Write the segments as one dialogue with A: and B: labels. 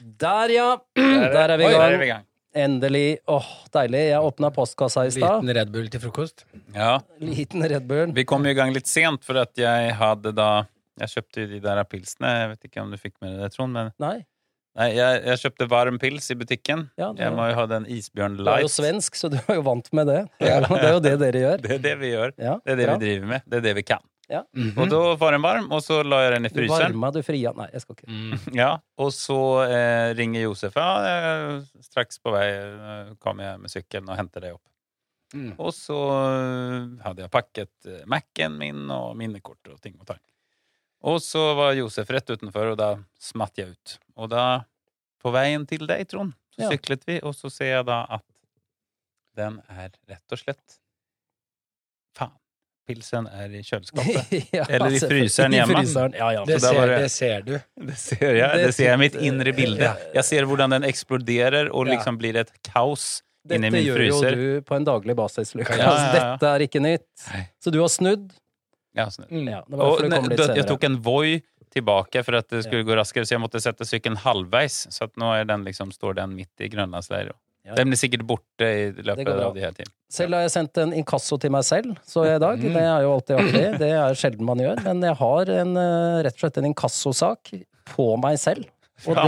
A: Der, ja. Der er vi
B: Oi,
A: i
B: der er
A: gang.
B: vi i gang.
A: Endelig. Åh, deilig. Jeg åpna postkassa i stad.
C: Liten Red Bull til frokost.
B: Ja.
A: Liten Red Bull.
B: Vi kom jo i gang litt sent, for at jeg hadde da Jeg kjøpte jo de der pilsene. Jeg vet ikke om du fikk med deg det, Trond, men
A: Nei.
B: nei, jeg, jeg kjøpte varm pils i butikken.
A: Ja, det-
B: jeg må jo ha den Isbjørn
A: Du er jo
B: Light.
A: svensk, så du er jo vant med det. Det er jo, det, er jo det dere gjør.
B: Det er det vi gjør.
A: Ja,
B: Det er det
A: bra.
B: vi driver med. Det er det vi kan.
A: Ja.
B: Og da var den varm, og så la jeg den i
A: Du
B: fryseren.
A: varma, du fria Nei, jeg skal ikke.
B: Ja, og så eh, ringer Josef. Ja, eh, straks på vei eh, kom jeg med sykkelen og hentet deg opp.
C: Mm.
B: Og så eh, hadde jeg pakket eh, Mac-en min og minnekort og ting og tang. Og så var Josef rett utenfor, og da smatt jeg ut. Og da, på veien til deg, Trond, så
A: Ja.
B: syklet vi, og så ser jeg da at den er rett og slett Faen. Pilsen er i kjøleskapet.
A: Ja,
B: Eller i
A: selvfølgelig.
B: fryseren hjemme.
A: I fryseren. Ja, ja.
C: Det,
B: da var
C: ser,
B: det-
C: det ser du.
B: Det ser jeg. Det,
A: Det
B: ser jeg i mitt
A: sitter-
B: indre bilde.
A: Ja.
B: Jeg ser hvordan den eksploderer og
C: Ja.
B: liksom blir et kaos inni
A: Dette
B: min
A: gjør jo
B: fryser.
A: du på en daglig basis, Lukas.
B: Ja, ja, ja.
A: Dette er ikke nytt.
B: Nei.
A: Så du har snudd.
B: Ja, sånn.
A: Ja, det var
B: Og
A: derfor du kom
B: ne-
A: litt
B: da- jeg
A: senere.
B: tok en Voi tilbake for at det skulle gå raskere, så jeg måtte sette sykkelen halvveis. Så at nå er den liksom, står den midt i grønlandsleiret.
A: Ja.
B: Den blir sikkert borte i løpet
A: går bra.
B: av de her timene.
A: Selv har jeg sendt en inkasso til meg selv, så jeg i dag.
B: Mm.
A: Det er jo alltid artig. Det er sjelden man gjør. Men jeg har en, eh, rett og slett en inkassosak på meg selv. Og
B: Ja,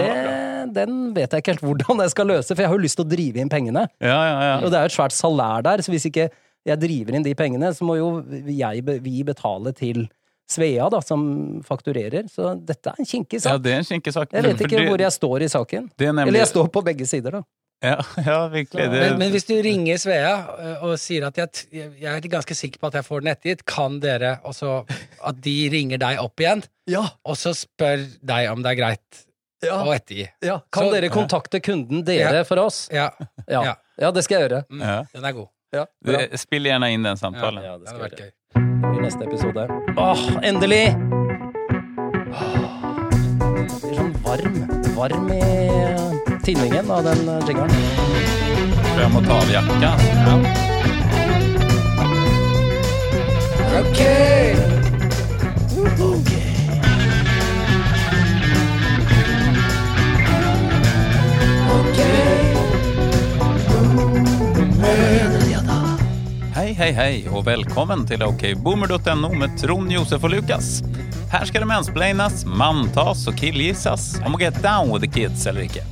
A: det, den vet jeg ikke helt hvordan jeg skal løse, for jeg har jo lyst til å drive inn pengene.
B: Ja, ja,
A: Og
B: ja.
A: det er jo et svært salær der, så hvis ikke jeg driver inn de pengene, så må jo jeg, be- vi betale til Svea, da, som fakturerer. Så dette er en kinkig
B: ja,
A: sak.
B: det er en kinkig sak.
A: Jeg vet
B: For
A: ikke
B: det-
A: hvor jeg står i saken.
B: det er nemlig,
A: Eller jeg står på begge sider, da.
B: Ja, ja virkelig. Det,
C: Men, men hvis du ringer Svea eh, og sier at jeg, t- jeg er ganske sikker på at jeg får den ettergitt, kan dere også At de ringer deg opp igjen,
A: Ja,
C: og så spør deg om det er greit
A: Ah.
C: å ettergi.
A: Kan
C: Så-
A: dere kontakte kunden dere for oss?
C: Ja.
A: Ja.
C: Ja.
A: ja, det skal jeg gjøre.
C: Mm.
B: Ja.
C: Den er god.
A: Ja, bra.
B: det, spill gjerne inn den samtalen.
A: Ja, det
C: Den
A: skal
C: hadde
A: jeg gjøre.
C: vært gøy.
A: I neste episode. Åh, endelig! Åh, Jeg blir sånn varm. Varm i tinningen av den eh, jingeren.
B: Tror jeg må ta av jakka. Hei, hei, hei, og velkommen til okboomer.no med Trond, Josef og Lukas. Her skal det mansplaines, manntas og killgisses om å get down with the kids eller ikke.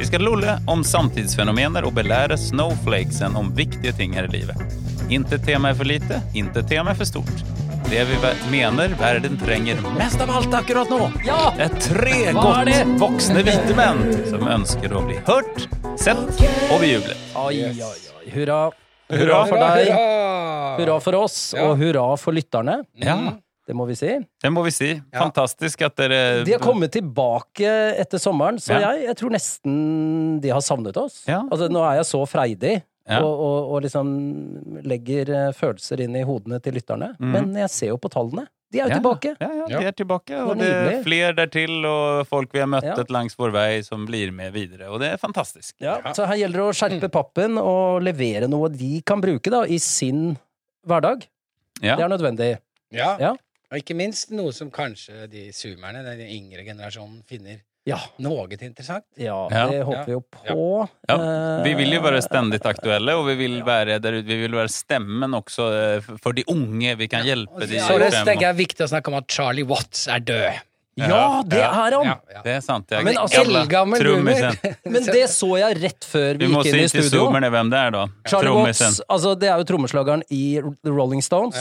B: Vi skal lolle om samtidsfenomener og belære snowflakesen om viktige ting her i livet. Inte tema er for lite, inte tema er for stort. Det vi ver- mener verden trenger mest av alt akkurat nå,
A: Ja!
B: er tre
A: Hva er
B: godt
A: det?
B: voksne hvite menn som ønsker å bli hørt, sett og bejublet.
A: Ai, ai, ai. Hurra. Hurra
B: Hurra.
A: for deg,
C: Hurra! Mm.
A: hurra for oss,
C: Ja.
A: og hurra for lytterne.
B: Ja.
A: Det må vi si.
B: Det må vi si. Fantastisk at dere
A: De har kommet tilbake etter sommeren, så
B: Eh, Ja.
A: jeg, jeg tror nesten de har savnet oss.
B: Ja.
A: Altså, nå er jeg så freidig
B: Ja.
A: og, og, og liksom legger eh, følelser inn i hodene til lytterne, men jeg ser jo på tallene. De er jo
B: Mhm. Ja.
A: tilbake.
B: Ja, ja, de er tilbake,
A: Det var
B: og det er
A: nydelig.
B: flere dertil, og folk vi har møtt
A: Ja.
B: langs vår vei, som blir med videre. Og det er fantastisk.
A: Ja, så her gjelder det å skjerpe pappen og levere noe de kan bruke da, i sin hverdag.
B: Ja.
A: Det er nødvendig.
C: Ja.
A: Ja.
C: Og ikke minst noe som kanskje de zoomerne, den yngre generasjonen, finner
A: Ja,
C: noe interessant.
A: ja
B: Ja.
A: det håper
C: Ja.
A: vi jo på.
B: Ja, Vi vil jo være
A: Eh,
B: stendig aktuelle, og vi vil være der ute. Vi vil være stemmen også eh, f- for de unge. Vi kan hjelpe de
C: Så det
B: frem-
C: tenker jeg er viktig å snakke om at Charlie Watts er død.
A: Ja, det
B: Ja.
A: er han!
C: Ja, ja.
B: Det er sant. Jeg,
A: Men altså,
B: Jalla,
C: eldgammel
B: trommisen.
A: Eh, Men det så jeg rett før
B: Vi
A: vi
B: må
A: gikk
B: si
A: inn i
B: til
A: studio.
B: zoomerne hvem det er, da.
A: Charlie
B: Trommisen.
A: Watts, altså det er jo trommeslageren i The Rolling Stones.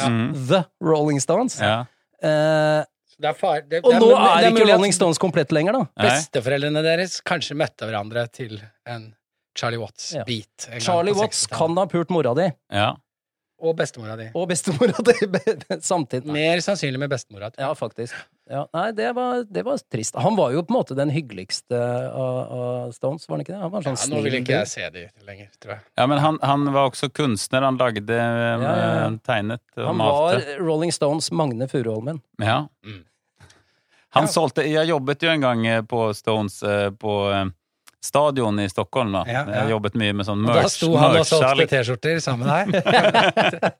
A: The Rolling Stones.
B: Ja.
A: Eh,
C: Det er far, det,
A: og
C: det
A: nå
C: mulig-
A: er
C: det
A: ikke
C: mulig at
A: Rolling Stones komplett lenger, da.
B: Nei.
C: Besteforeldrene deres kanskje møtte hverandre til en Charlie
A: Ja.
C: Watts-beat. en gang
A: Charlie
C: på
A: Watts
C: 60-tallet.
A: kan ha pult mora di,
B: Ja.
C: Og bestemora di.
A: og bestemora di be- samtidig. Nei.
C: Mer sannsynlig med bestemora. tror jeg.
A: Ja, faktisk. Ja, nei, det var, det var trist. Han var jo på en måte den hyggeligste av, av Stones, var han ikke det? Han var en sånn
C: Ja, nå vil
A: snill
C: ikke
A: dude.
C: jeg se de lenger, tror jeg.
B: ja, men han, han var også kunstner. Han lagde, eh,
A: ja, ja.
B: tegnet og
A: Han
B: malte.
A: var Rolling Stones Magne Furuholmen.
B: Ja.
C: Mm.
B: Han
C: Ja.
B: solgte Jeg jobbet jo en gang eh, på Stones eh, på eh, stadion i Stockholm. Da.
C: Ja, ja.
B: Jeg har jobbet mye med sånn
C: Da
B: merch.
C: sto han og solgte
B: merch-salg.
C: T-skjorter sammen med deg.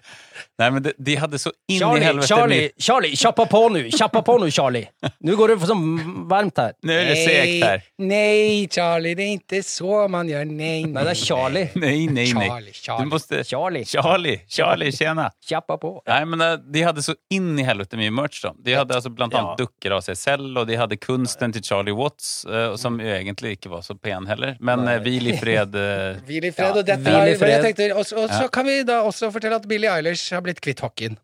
B: Nei, men de, de hadde så inn i
A: Charlie,
B: helvete
A: Charlie,
B: mye-
A: Charlie, kjappa på nå! Kjappa på nå, Charlie! Nå går det for sånn varmt her.
B: Nå er det segt her.
C: Nei, Charlie, det er ikke så man gjør. Nei,
A: Nei, det er Charlie.
B: Nei, nei, nei.
C: Charlie, Charlie.
B: Du måste...
A: Charlie,
B: Charlie, Charlie, tjena!
A: kjappa på.
B: Nei, men eh, de hadde så inn i helvete mye merch. da. De hadde altså blant annet
A: Ja.
B: dukker av seg selv, og de hadde kunsten til Charlie Watts, eh, og som jo egentlig ikke var så pen heller. Men eh, Hvil i fred eh,
C: Hvil i fred. Og, dette
A: hvil i
C: var, men jeg
A: fred.
C: tenkte, og, så- og så kan vi da også fortelle at Billie Eilish har blitt kvitt hockeyen.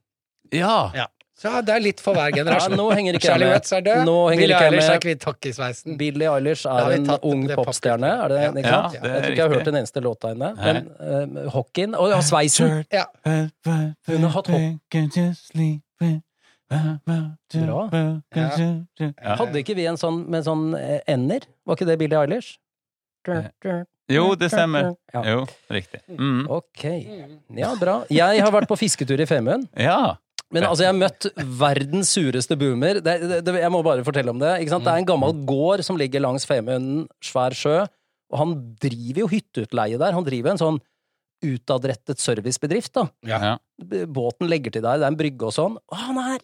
B: Ja!
C: Ja. Så det er litt for hver
A: Ja,
C: generasjon.
A: nå henger ikke jeg
C: Charlie
A: med.
C: Watts er død.
A: Nå henger
C: Billie
A: ikke jeg
C: Eilish er
A: med.
C: kvitt hockeysveisen.
A: Billie Eilish
C: Da har
A: er
C: vi
A: en
C: tatt
A: ung
C: det
A: popstjerne. Er det,
C: Ja.
A: ikke
B: Ja,
A: sant?
B: det er
A: jeg tror ikke jeg har
B: riktig.
A: hørt en eneste låt av henne. Men uh, hockeyen Å ja, sveisen!
C: Ja.
A: Hun har hatt Bra.
B: Ja.
A: Hadde ikke vi en sånn med sånn eh, ender? Var ikke det Billie Eilish?
B: Jo, det stemmer.
A: Ja.
B: Jo, riktig. Mm.
A: Ok. Ja, bra. Jeg har vært på fisketur i Femund.
B: Ja.
A: Men altså, jeg har møtt verdens sureste boomer. Det, det, det, jeg må bare fortelle om det. Ikke sant? Det
B: Mm.
A: er en gammel gård som ligger langs Femunden, svær sjø. Og han driver jo hytteutleie der. Han driver en sånn utadrettet servicebedrift, da.
B: ja.
A: B- Båten legger til deg, det er en brygge og sånn. Og han er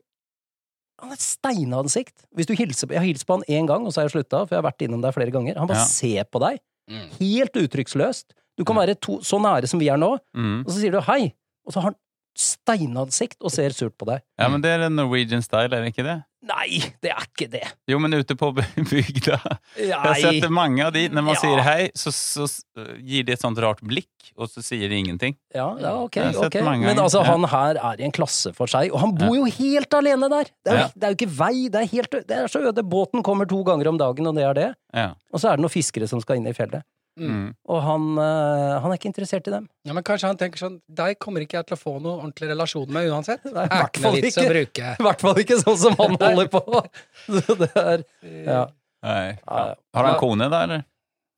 A: han er et steinansikt. Hvis du hilser på, jeg har hilst på han én gang, og så har jeg slutta, for jeg har vært innom deg flere ganger. Han bare
B: Ja.
A: ser på deg.
C: Mm.
A: Helt uttrykksløst. Du kan være to, så nære som vi er nå,
B: Mm.
A: og så sier du hei, og så har han steinansikt og ser surt på deg.
B: ja, men det er en Norwegian style, er det ikke det?
A: Nei, det er ikke det.
B: Jo, men ute på bygda. Jeg har
A: Nei.
B: sett mange av de. Når man
A: Ja.
B: sier hei, så, så s- eh, gir de et sånt rart blikk, og så sier de ingenting.
A: Ja, ja, ok.
B: Jeg har sett
A: ok.
B: mange
A: Men
B: ganger,
A: altså,
B: ja.
A: han her er i en klasse for seg, og han bor jo helt alene der! Det er, jo-
B: Ja.
A: det er jo ikke vei, det er, helt, ø- det er så øde. Båten kommer to ganger om dagen, og det er det.
B: Ja.
A: Og så er det noen fiskere som skal inn i fjellet.
B: Mm.
A: Og han, eh, han er ikke interessert i dem.
C: Ja, men kanskje han tenker sånn Deg kommer ikke jeg til å få noen ordentlig relasjon med uansett. Det
A: Nei, i
C: er
A: hvert
C: ikke noe
A: fall
C: vits å
A: ikke.
C: bruke.
A: I hvert fall ikke sånn som han holder på! Så det er Ja.
B: Nei.
A: ja, ja.
B: Har han
A: Ja.
B: kone, da, eller?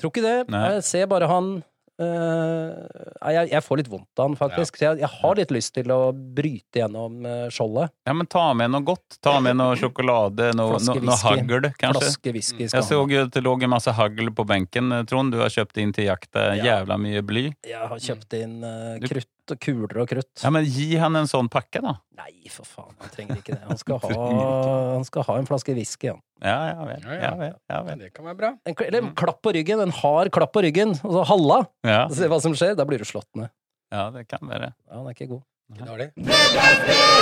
A: Tror ikke det.
B: Nei.
A: Jeg ser bare han eh, nei, jeg, jeg får litt vondt av han, faktisk. Så jeg, jeg har litt lyst til å bryte gjennom eh, skjoldet.
B: Ja, men ta med noe godt. Ta med noe sjokolade, noe,
A: Flaske
B: no, noe
A: whisky.
B: hagl, kanskje.
A: Flaske whisky skal
B: Jeg så
A: han ha.
B: jo at det lå en masse hagl på benken, eh, Trond. Du har kjøpt inn til jakta jævla mye bly.
A: Jeg har kjøpt inn eh,
B: Mm. Du-
A: krutt og kuler og krutt.
B: Ja, men gi han en sånn pakke, da.
A: Nei, for faen, han trenger ikke det. Han skal
B: Han
A: ha,
B: trenger
A: han skal ha en flaske whisky, han.
B: Ja, ja vel.
C: Ja, ja.
B: Ja, vel. Ja,
C: Men
B: vel.
C: det kan være bra.
A: En, kl- eller en klapp på ryggen, en hard klapp på ryggen, og så halla!
B: Mm. Ja,
A: Se hva som skjer, da blir du slått ned.
B: ja, det kan være.
A: Ja, han er ikke god.
C: Ikke dårlig.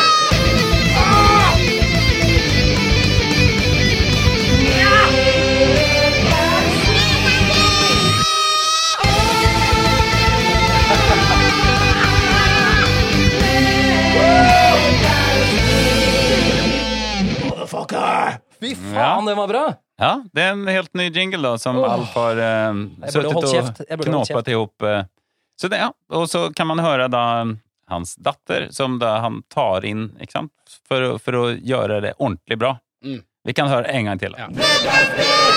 A: Fy faen,
B: Mm, Ja.
A: den var bra!
B: Ja, det er en helt ny jingle, da, som
A: Åh.
B: Alf har eh,
A: burde
B: suttit
A: holdt kjeft. Jeg
B: og
A: burde holdt
B: knåpet ihop. eh. Så det, ja. Og så kan man høre da um, hans datter, som da han tar inn, ikke sant, for, å- for å gjøre det ordentlig bra.
C: Mm.
B: Vi kan høre en gang til. da.
C: Ja.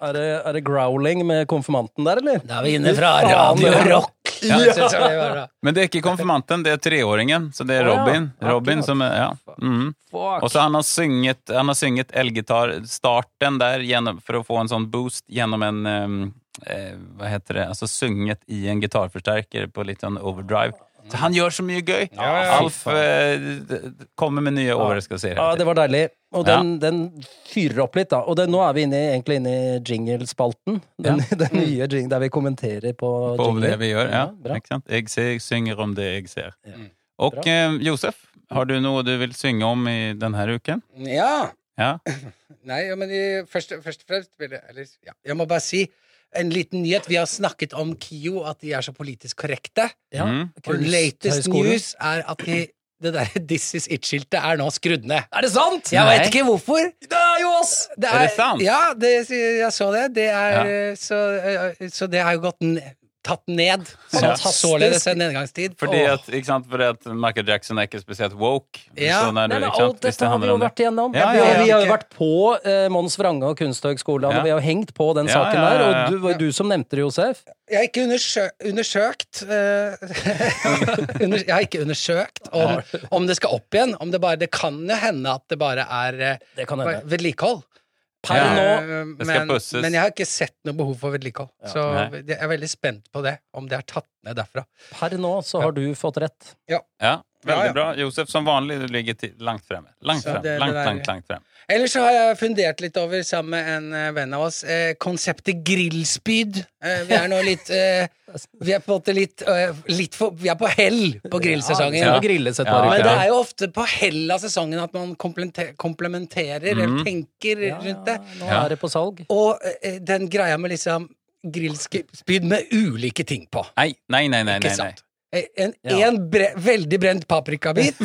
A: Er det, er det growling med konfirmanten der, eller?
C: Da er vi inne
A: fra Radio
C: Rock. Ja. det synes jeg det var bra.
B: Men det er ikke konfirmanten, det er treåringen. Så det er
A: Å, ja.
B: Robin. Robin
A: Akkurat.
B: som er, ja. mm.
A: Fuck!
B: Og så han har synget, han har synget elgitarstarten der gjennom, for å få en sånn boost gjennom en ehm, eh, Hva heter det Altså synget i en gitarforsterker på litt sånn overdrive. Så han gjør så mye gøy!
C: ja, ja.
B: Alf eh, d- d- kommer med nye overraskelser.
A: Ja, det var deilig. Og
B: Ja.
A: den, den fyrer opp litt, da. Og det, nå er vi inne, i- egentlig inne i jinglespalten. Den, den nye jing, der vi kommenterer på,
B: Mm. på
A: jingler.
B: det vi gjør. Ja,
A: bra.
B: ikke sant? Jeg, ser, jeg synger om det jeg ser.
C: Mm.
B: Og eh, Josef, har du noe du vil synge om i denne uken?
C: ja.
B: Ja.
C: Nei, ja, men i, først, først og fremst vil jeg, eller, ja. jeg må bare si en liten nyhet. Vi har snakket om KIO, at de er så politisk korrekte.
A: Ja.
B: Mm.
C: Og latest
A: Kunsthøgskolen.
C: news er at de, det der This Is It-skiltet er nå skrudd ned.
A: Er det sant?!
C: Jeg
A: Nei.
C: vet ikke hvorfor.
A: Det er jo oss!
C: Det
B: Er det sant?
C: Ja, det, jeg så det. det er,
B: Ja.
C: så, så det har jo gått ned. tatt ned. Så
A: Fantastisk.
C: således en nedgangstid.
B: Fordi
C: Åh.
B: at, ikke sant, fordi at Michael Jackson er ikke spesielt woke.
C: Ja.
B: Så når du-
A: Nei, men
B: ikke sant,
A: alt
B: hvis det
A: dette har vi
B: handler
A: jo
B: om det.
A: vært igjennom.
B: Ja,
A: Vi
B: ja,
A: har-
B: ja.
A: Vi har jo
C: Ok.
A: vært på eh, Mons Vrange og Kunsthøgskolen,
B: Ja.
A: og vi har jo hengt på den
B: Ja,
A: saken
B: ja, ja,
A: der.
B: ja.
A: Og du, var du som nevnte det, Josef.
C: Jeg har ikke undersø undersøkt eh, under, Jeg har ikke undersøkt om, om det skal opp igjen. Om det, bare, det kan jo hende at det bare er eh,
A: Det kan hende.
C: vedlikehold.
A: Per
B: Ja.
A: nå
C: Eh,
B: det skal
C: men,
B: pusses.
C: men jeg har ikke sett noe behov for vedlikehold. Så
B: Nei.
C: jeg er veldig spent på det, om det er tatt ned derfra.
A: Per nå så har du fått rett.
B: Ja,
C: Ja,
B: veldig
C: ja.
B: bra. Josef som vanlig du ligger til, langt fremme. Langt
C: Så
B: frem.
C: det- det
B: langt,
C: der-
B: langt, langt frem.
C: Ellers så har jeg fundert litt over, sammen med en eh, venn av oss, eh, konseptet grillspyd. Eh, vi er nå litt eh, Vi er på en måte litt, eh, litt for, Vi er på hell på grillsesongen.
A: Ja, det skal grilles et
B: Ja.
A: par
C: Men det
A: uker.
C: er jo ofte på hell av sesongen at man komplente- komplementerer eller
B: Mhm.
C: tenker
A: Ja, ja,
C: rundt det.
A: Nå
B: Ja.
A: er det på salg.
C: Og eh, den greia med liksom grillspyd med ulike ting på.
B: Nei, nei, nei, nei.
C: Ikke
B: nei, nei.
C: sant? Eh, En,
A: Ja.
C: en bre veldig brent paprikabit,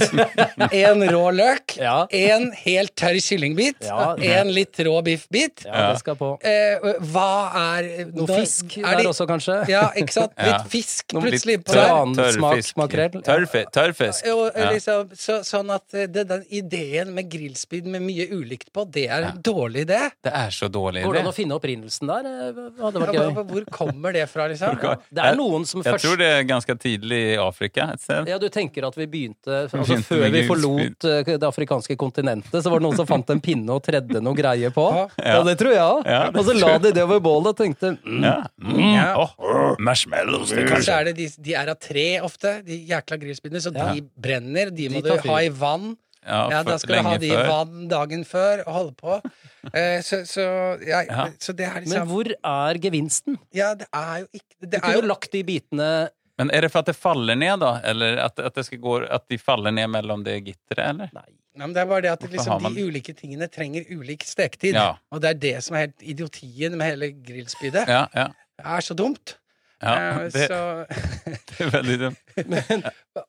C: en rå løk,
A: Ja.
C: en helt tørr kyllingbit,
A: Ja.
C: en litt rå biffbit.
A: Ja, det skal på.
C: Eh, hva er
A: Noe
C: når-
A: fisk
C: er
A: der
C: de-
A: også, kanskje?
C: Ja, ikke sant?
B: Ja.
C: Litt fisk
A: Noe
B: Litt
C: plutselig. på
A: tørr-
C: der.
A: annen smak,
B: fisk.
A: makrell.
B: Tørr fi- tørr fisk.
C: Og,
B: Ja.
C: liksom, så, sånn at eh, det, den ideen med grillspyd med mye ulikt på, det er en dårlig idé.
B: Det er så dårlig
A: Hvordan
B: idé.
A: å finne opprinnelsen der? eh, Hadde
C: Ja,
A: vært
C: hva-
A: gøy.
C: hva- Hvor kommer det fra, liksom?
B: Hvor-
A: Det er noen som
B: Jeg
A: først
B: tror det er ganske tidlig i Afrika et sted.
A: Ja, du tenker at vi begynte altså,
B: Begynte
A: Før
B: med
A: vi
B: grillspyd.
A: forlot eh, det afrikanske kontinentet, så var det noen som fant en pinne og tredde noe greie på.
C: Ja.
A: Ja, det tror jeg òg.
B: Ja, det
A: Og så la de det over bålet og tenkte mm,
B: Ja. Mm.
C: Ja.
B: Åh, marshmallows, det
C: Kanskje er det de, de er av tre ofte, de jækla grillspydene, så de brenner. De må
A: De
C: du
A: tar fyr.
C: ha i vann.
B: Ja,
C: Ja,
B: for-
C: da skal du ha
B: lenge
C: de i
B: før.
C: vann dagen før og holde på. Eh, så, så, ja,
B: Ja.
C: så det er
A: Men
C: liksom
A: hvor er gevinsten?
C: Ja, det er jo ikke
A: Du
C: Det
A: kunne
C: er
A: jo
C: jo
A: lagt de bitene
B: Men er det for at det faller ned, da? Eller at, at, det skal gå, at de faller ned mellom det gitteret, eller?
A: Nei.
C: Nei, men det er bare det at
B: Hvorfor har
C: liksom,
B: man-
C: de ulike tingene trenger ulik steketid.
B: Ja.
C: Og det er det som er helt idiotien med hele grillspydet.
B: Ja, ja.
C: Det er så dumt.
B: ja
C: Eh,
B: det,
C: så...
B: det er veldig dumt.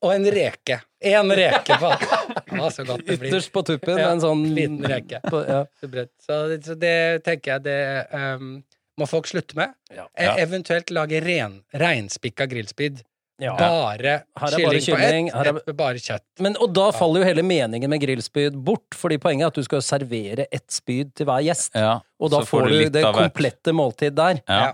C: Og en reke. Én reke, faen. Ja, så godt det blir.
A: Ytterst på tuppen,
C: Ja,
A: en sånn
C: liten reke.
A: På, ja.
C: Så bredt. Så det, så det tenker jeg det ehm, må folk slutte med.
A: Ja.
C: E
B: Ja.
C: eventuelt lage ren, reinspikka grillspyd.
A: Ja.
C: Bare
A: Her er bare
C: kylling på
A: kylling,
C: ett,
A: her er-
C: ett med bare kjøtt.
A: Men, og da faller jo hele meningen med grillspyd bort, fordi poenget er at du skal servere ett spyd til hver gjest.
B: Ja.
A: Og da
B: Så
A: får du
B: litt
A: det
B: av hvert.
A: komplette måltid der.
B: Ja.
C: Ja.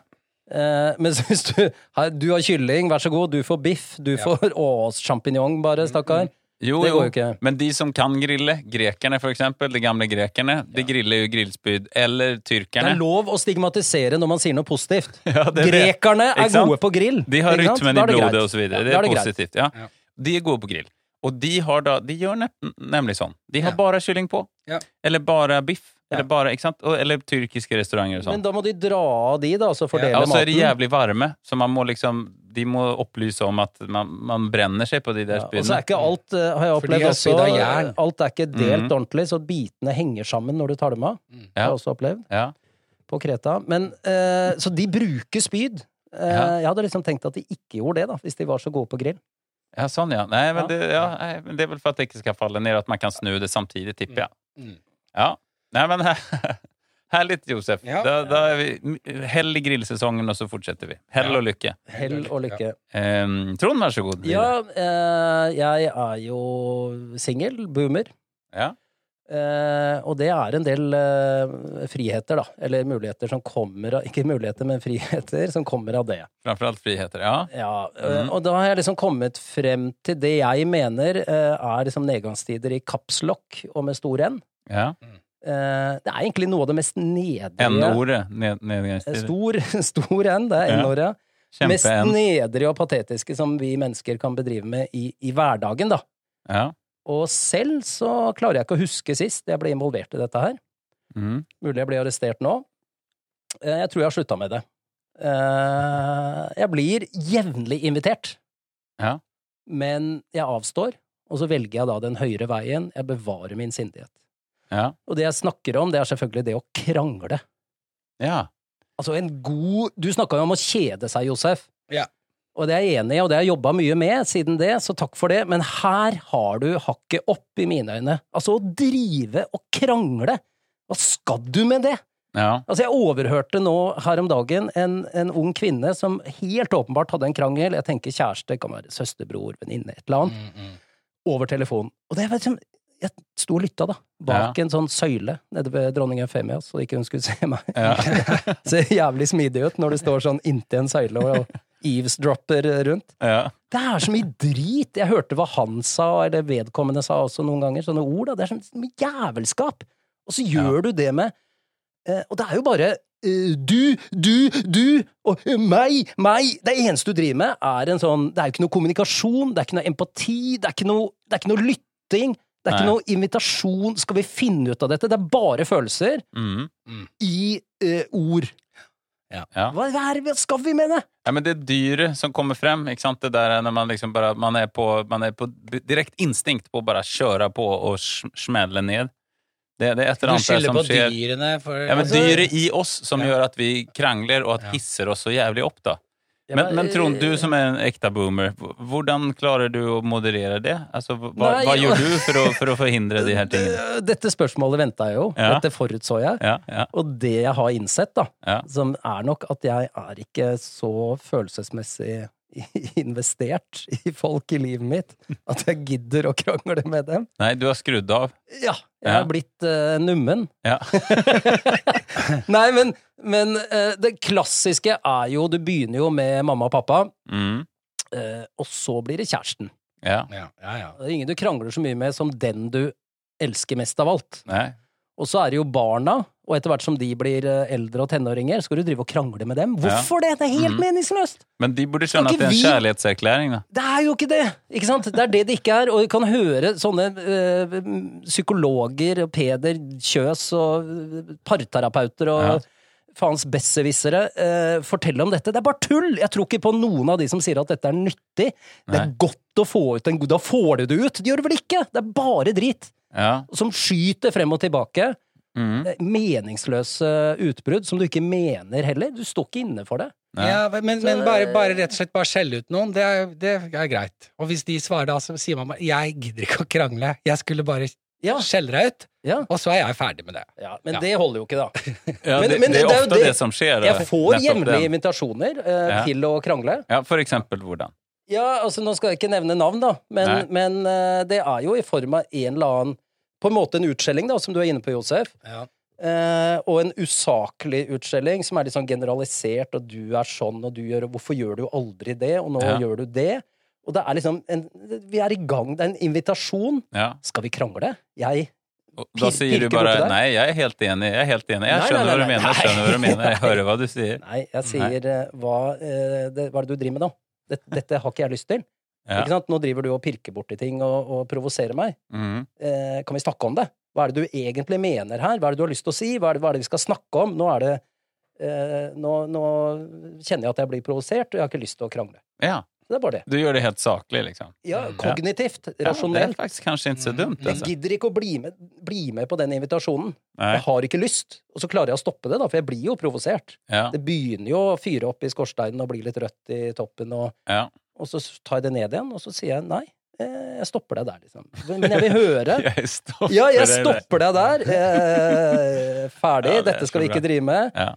A: Eh, mens hvis du, her, du har kylling, vær så god, du får biff, du får Å, sjampinjong bare,
B: Mm,
A: stakkar.
B: Jo,
A: Det går
B: jo.
A: jo ikke.
B: Men de som kan grille, grekerne for eksempel, de gamle grekerne, de griller jo grillspyd. Eller
A: Det er
B: tyrkerne.
A: lov å stigmatisere når man sier noe positivt.
B: det er det.
A: Grekerne
B: Ikke
A: er
B: sant?
A: gode på grill.
B: De har
A: ikke sant?
B: rytmen
A: Da
B: i
A: er det
B: blodet
A: greit.
B: og så videre.
A: Ja,
B: Det
A: da
B: er
A: greit.
B: positivt. Ja.
C: Ja.
B: De er gode på grill. Og de har da, de gjør nep- nemlig sånn. De har
C: Ja.
B: bare kylling på.
C: Ja.
B: Eller bare biff. Eller bare, ikke sant? Og- Eller tyrkiske restauranter og
A: Men
B: sånn.
A: da må de dra av de, da, og så fordele
B: Ja, og så er de
A: maten.
B: jævlig varme, så man må liksom De må opplyse om at man, man brenner seg på de der
A: Ja, og så
B: spydene.
A: er ikke alt, eh, har jeg
C: For de
A: opplevd
C: har
A: også,
C: spyd av jern.
A: alt er ikke delt
B: Mhm.
A: ordentlig, så bitene henger sammen når du tar dem av. Det har jeg også opplevd
B: Ja.
A: på Kreta. Men, eh, så de bruker spyd. Eh,
B: Ja.
A: Jeg hadde liksom tenkt at de ikke gjorde det, da, hvis de var så gode på grill.
B: ja, sånn, ja. Nei, men
A: Ja.
B: det, ja, nei, men det er vel for at det ikke skal falle ned, at man kan snu det samtidig, tipper jeg.
C: Mm.
B: Ja. Nei, men her- Herlig, Josef.
C: Ja.
B: Da, da er vi Hell i grillsesongen, og så fortsetter vi. Hell
C: Ja.
B: og lykke.
A: Hell og lykke.
B: Ehm, Trond, vær så god.
A: Ja, eh, jeg er jo singel, boomer.
B: Ja.
A: Eh, og det er en del eh, friheter, da. Eller muligheter som kommer av Ikke muligheter, men friheter som kommer av det.
B: Framfor alt friheter. Ja.
A: Ja, eh,
B: Mhm.
A: Og da har jeg liksom kommet frem til det jeg mener eh, er liksom nedgangstider i kapslokk og med stor N.
B: ja.
A: Eh, det er egentlig noe av det mest nedrige
B: N-ordet. Ned,
A: Eh,
B: Nedgangstider.
A: Stor, stor N, det er
B: Ja.
A: N-året. Mest
B: Kjempe-N.
A: nedrige og patetiske som vi mennesker kan bedrive med i, i hverdagen, da.
B: Ja.
A: Og selv så klarer jeg ikke å huske sist jeg ble involvert i dette her.
B: Mm.
A: Mulig jeg blir arrestert nå. Eh, Jeg tror jeg har slutta med det. Eh, Jeg blir jevnlig invitert.
B: Ja.
A: Men jeg avstår, og så velger jeg da den høyere veien. Jeg bevarer min sindighet.
B: ja.
A: Og det jeg snakker om, det er selvfølgelig det å krangle.
B: Ja.
A: Altså en god Du snakka jo om å kjede seg, Josef.
C: Ja.
A: Og det er jeg enig i, og det har jeg jobba mye med siden det, så takk for det. Men her har du hakket opp i mine øyne. Altså å drive og krangle. Hva skal du med det?
B: Ja.
A: Altså, jeg overhørte nå her om dagen en, en ung kvinne som helt åpenbart hadde en krangel. Jeg tenker kjæreste, kan være søsterbror, venninne, et eller
C: Mm,
A: annet. Over telefonen. Og det var liksom Jeg sto og lytta, da. Bak en sånn søyle nede ved dronning Eufemia, så ikke hun skulle se meg.
B: Ja.
A: Ser jævlig smidig ut når du står sånn inntil en søyle og eavesdropper rundt.
B: ja.
A: Det er så mye drit! Jeg hørte hva han sa, eller vedkommende sa også noen ganger. Sånne ord. Da. Det er sånn mye jævelskap! Og så gjør du det med eh, Og det er jo bare eh, du, du, du og eh, meg, meg! Det eneste du driver med, er en sånn Det er jo ikke noe kommunikasjon, det er ikke noe empati, det er ikke noe, det er ikke noe lytting. Det er ikke
B: Nei.
A: noe invitasjon. Skal vi finne ut av dette? Det er bare følelser
B: Mm.
A: i eh, ord.
B: Ja.
A: Hva, hva er det vi skal vi med det?
B: Ja, men det er dyret som kommer frem. Ikke sant? Det der er når man liksom bare Man er på, man er på direkte instinkt på å bare kjøre på og sm- smelle ned. Det, det er et eller
C: Du
B: annet der
C: skylder
B: som
C: på
B: skjer.
C: dyrene for
B: Ja, men
C: altså-
B: dyret i oss som
C: Ja.
B: gjør at vi krangler, og at
C: Ja. eh,
B: hisser oss så jævlig opp, da.
A: Jeg
B: Men,
A: bare-
B: men Trond, du som er en ekte boomer, h- hvordan klarer du å moderere det? Altså, hva,
A: Nei,
B: hva
A: ja.
B: gjør du for å, for å forhindre de her
A: D-
B: tingene?
A: Eh, Dette spørsmålet venta jeg jo.
B: Ja.
A: Dette forutså jeg.
B: Ja, ja,
A: Og det jeg har innsett, da,
B: Ja.
A: som er nok at jeg er ikke så følelsesmessig investert i folk i livet mitt at jeg gidder å krangle med dem.
B: Nei, du har skrudd av.
A: Ja, jeg er
B: Ja.
A: blitt eh, nummen.
B: Ja.
A: Nei, men, men eh, det klassiske er jo Du begynner jo med mamma og pappa,
B: Mm.
A: eh, og så blir det kjæresten.
B: Ja.
C: Ja, ja, ja.
A: Det er ingen du krangler så mye med som den du elsker mest av alt.
B: Nei.
A: Og så er det jo barna, og etter hvert som de blir eh, eldre og tenåringer, skal du drive og krangle med dem. Hvorfor det? Det er helt
B: Mhm.
A: meningsløst!
B: Men de burde
A: Skal
B: skjønne at det er en
A: ikke
B: kjærlighetserklæring, da.
A: Det er jo ikke det! Ikke sant? Det er det det ikke er. Og du kan høre sånne eh, psykologer og Peder Kjøs og eh, parterapeuter og
B: Ja.
A: faens besserwissere eh, fortelle om dette. Det er bare tull! Jeg tror ikke på noen av de som sier at dette er nyttig. Det er
B: Nei.
A: godt å få ut en god Da får du det ut! De gjør det vel ikke! Det er bare drit!
B: Ja.
A: Som skyter frem og tilbake.
B: Mm.
A: eh, meningsløse utbrudd som du ikke mener heller. Du står ikke inne for det.
B: Ja.
C: Ja, men, men bare, bare
A: eh,
C: rett og slett bare skjelle ut noen, det er, det er greit. Og hvis de svarer da, så sier man bare 'jeg gidder ikke å krangle', jeg skulle bare
A: Ja.
C: skjelle deg ut,
A: Ja.
C: og så er jeg ferdig med det.
A: men
C: Ja.
A: det holder jo ikke, da.
B: Ja,
A: Men-
B: det,
A: men
B: det
A: det er
B: er
A: jo
B: ofte det,
A: det-
B: som skjer. eh,
A: Jeg får
B: nettopp
A: jevnlige
B: den.
A: invitasjoner eh,
B: Ja.
A: til å krangle.
B: Ja, for eksempel hvordan?
A: Ja, altså Nå skal jeg ikke nevne navn, da, men, men eh, det er jo i form av en eller annen På en måte en utskjelling, da, som du er inne på, Josef.
C: Ja.
A: Eh, og en usaklig utskjelling som er litt sånn generalisert, og du er sånn, og du gjør Hvorfor gjør du aldri det, og nå
B: Ja.
A: gjør du det? Og det er liksom en, Vi er i gang. Det er en invitasjon.
B: Ja.
A: Skal vi krangle? Jeg
B: Og Da
A: Pir-
B: sier du
A: pirker borti
B: bare
A: der?
B: 'nei, jeg er helt enig', jeg er helt enig. Jeg
A: Nei,
B: skjønner
A: nei,
B: hva du
A: nei,
B: mener, jeg
A: nei.
B: skjønner hva du mener, jeg hører hva du sier.
A: Nei, jeg sier eh, hva, eh, det, hva er det du driver med nå? Dette, dette har ikke jeg lyst til.
B: Ja.
A: Ikke sant? Nå driver du og pirker borti ting og, og provoserer meg.
B: Mm.
A: Eh, kan vi snakke om det? Hva er det du egentlig mener her? Hva er det du har lyst til å si? Hva er det, hva er det vi skal snakke om? Nå er det eh, nå, nå kjenner jeg at jeg blir provosert, og jeg har ikke lyst til å krangle.
B: ja.
A: Så det er bare det.
B: Du gjør det helt saklig, liksom.
A: Ja,
C: Mm.
A: kognitivt,
B: Ja, det er
A: rasjonelt. Mhm.
B: faktisk kanskje ikke så dumt.
A: Jeg
B: Altså.
A: gidder ikke å bli med, bli med på den invitasjonen.
B: Nei.
A: Jeg har ikke lyst, og så klarer jeg å stoppe det, da, for jeg blir jo provosert.
B: Ja.
A: Det begynner jo å fyre opp i skorsteinen og bli litt rødt i toppen, og,
B: Ja.
A: og så tar jeg det ned igjen, og så sier jeg nei, eh, jeg stopper deg der, liksom. Men jeg vil høre.
B: Jeg stopper
A: Ja, jeg
B: det der.
A: stopper deg der. Eh, ferdig,
B: Ja, det er
A: dette skal vi
B: så
A: ikke
B: bra.
A: drive med.
B: Ja.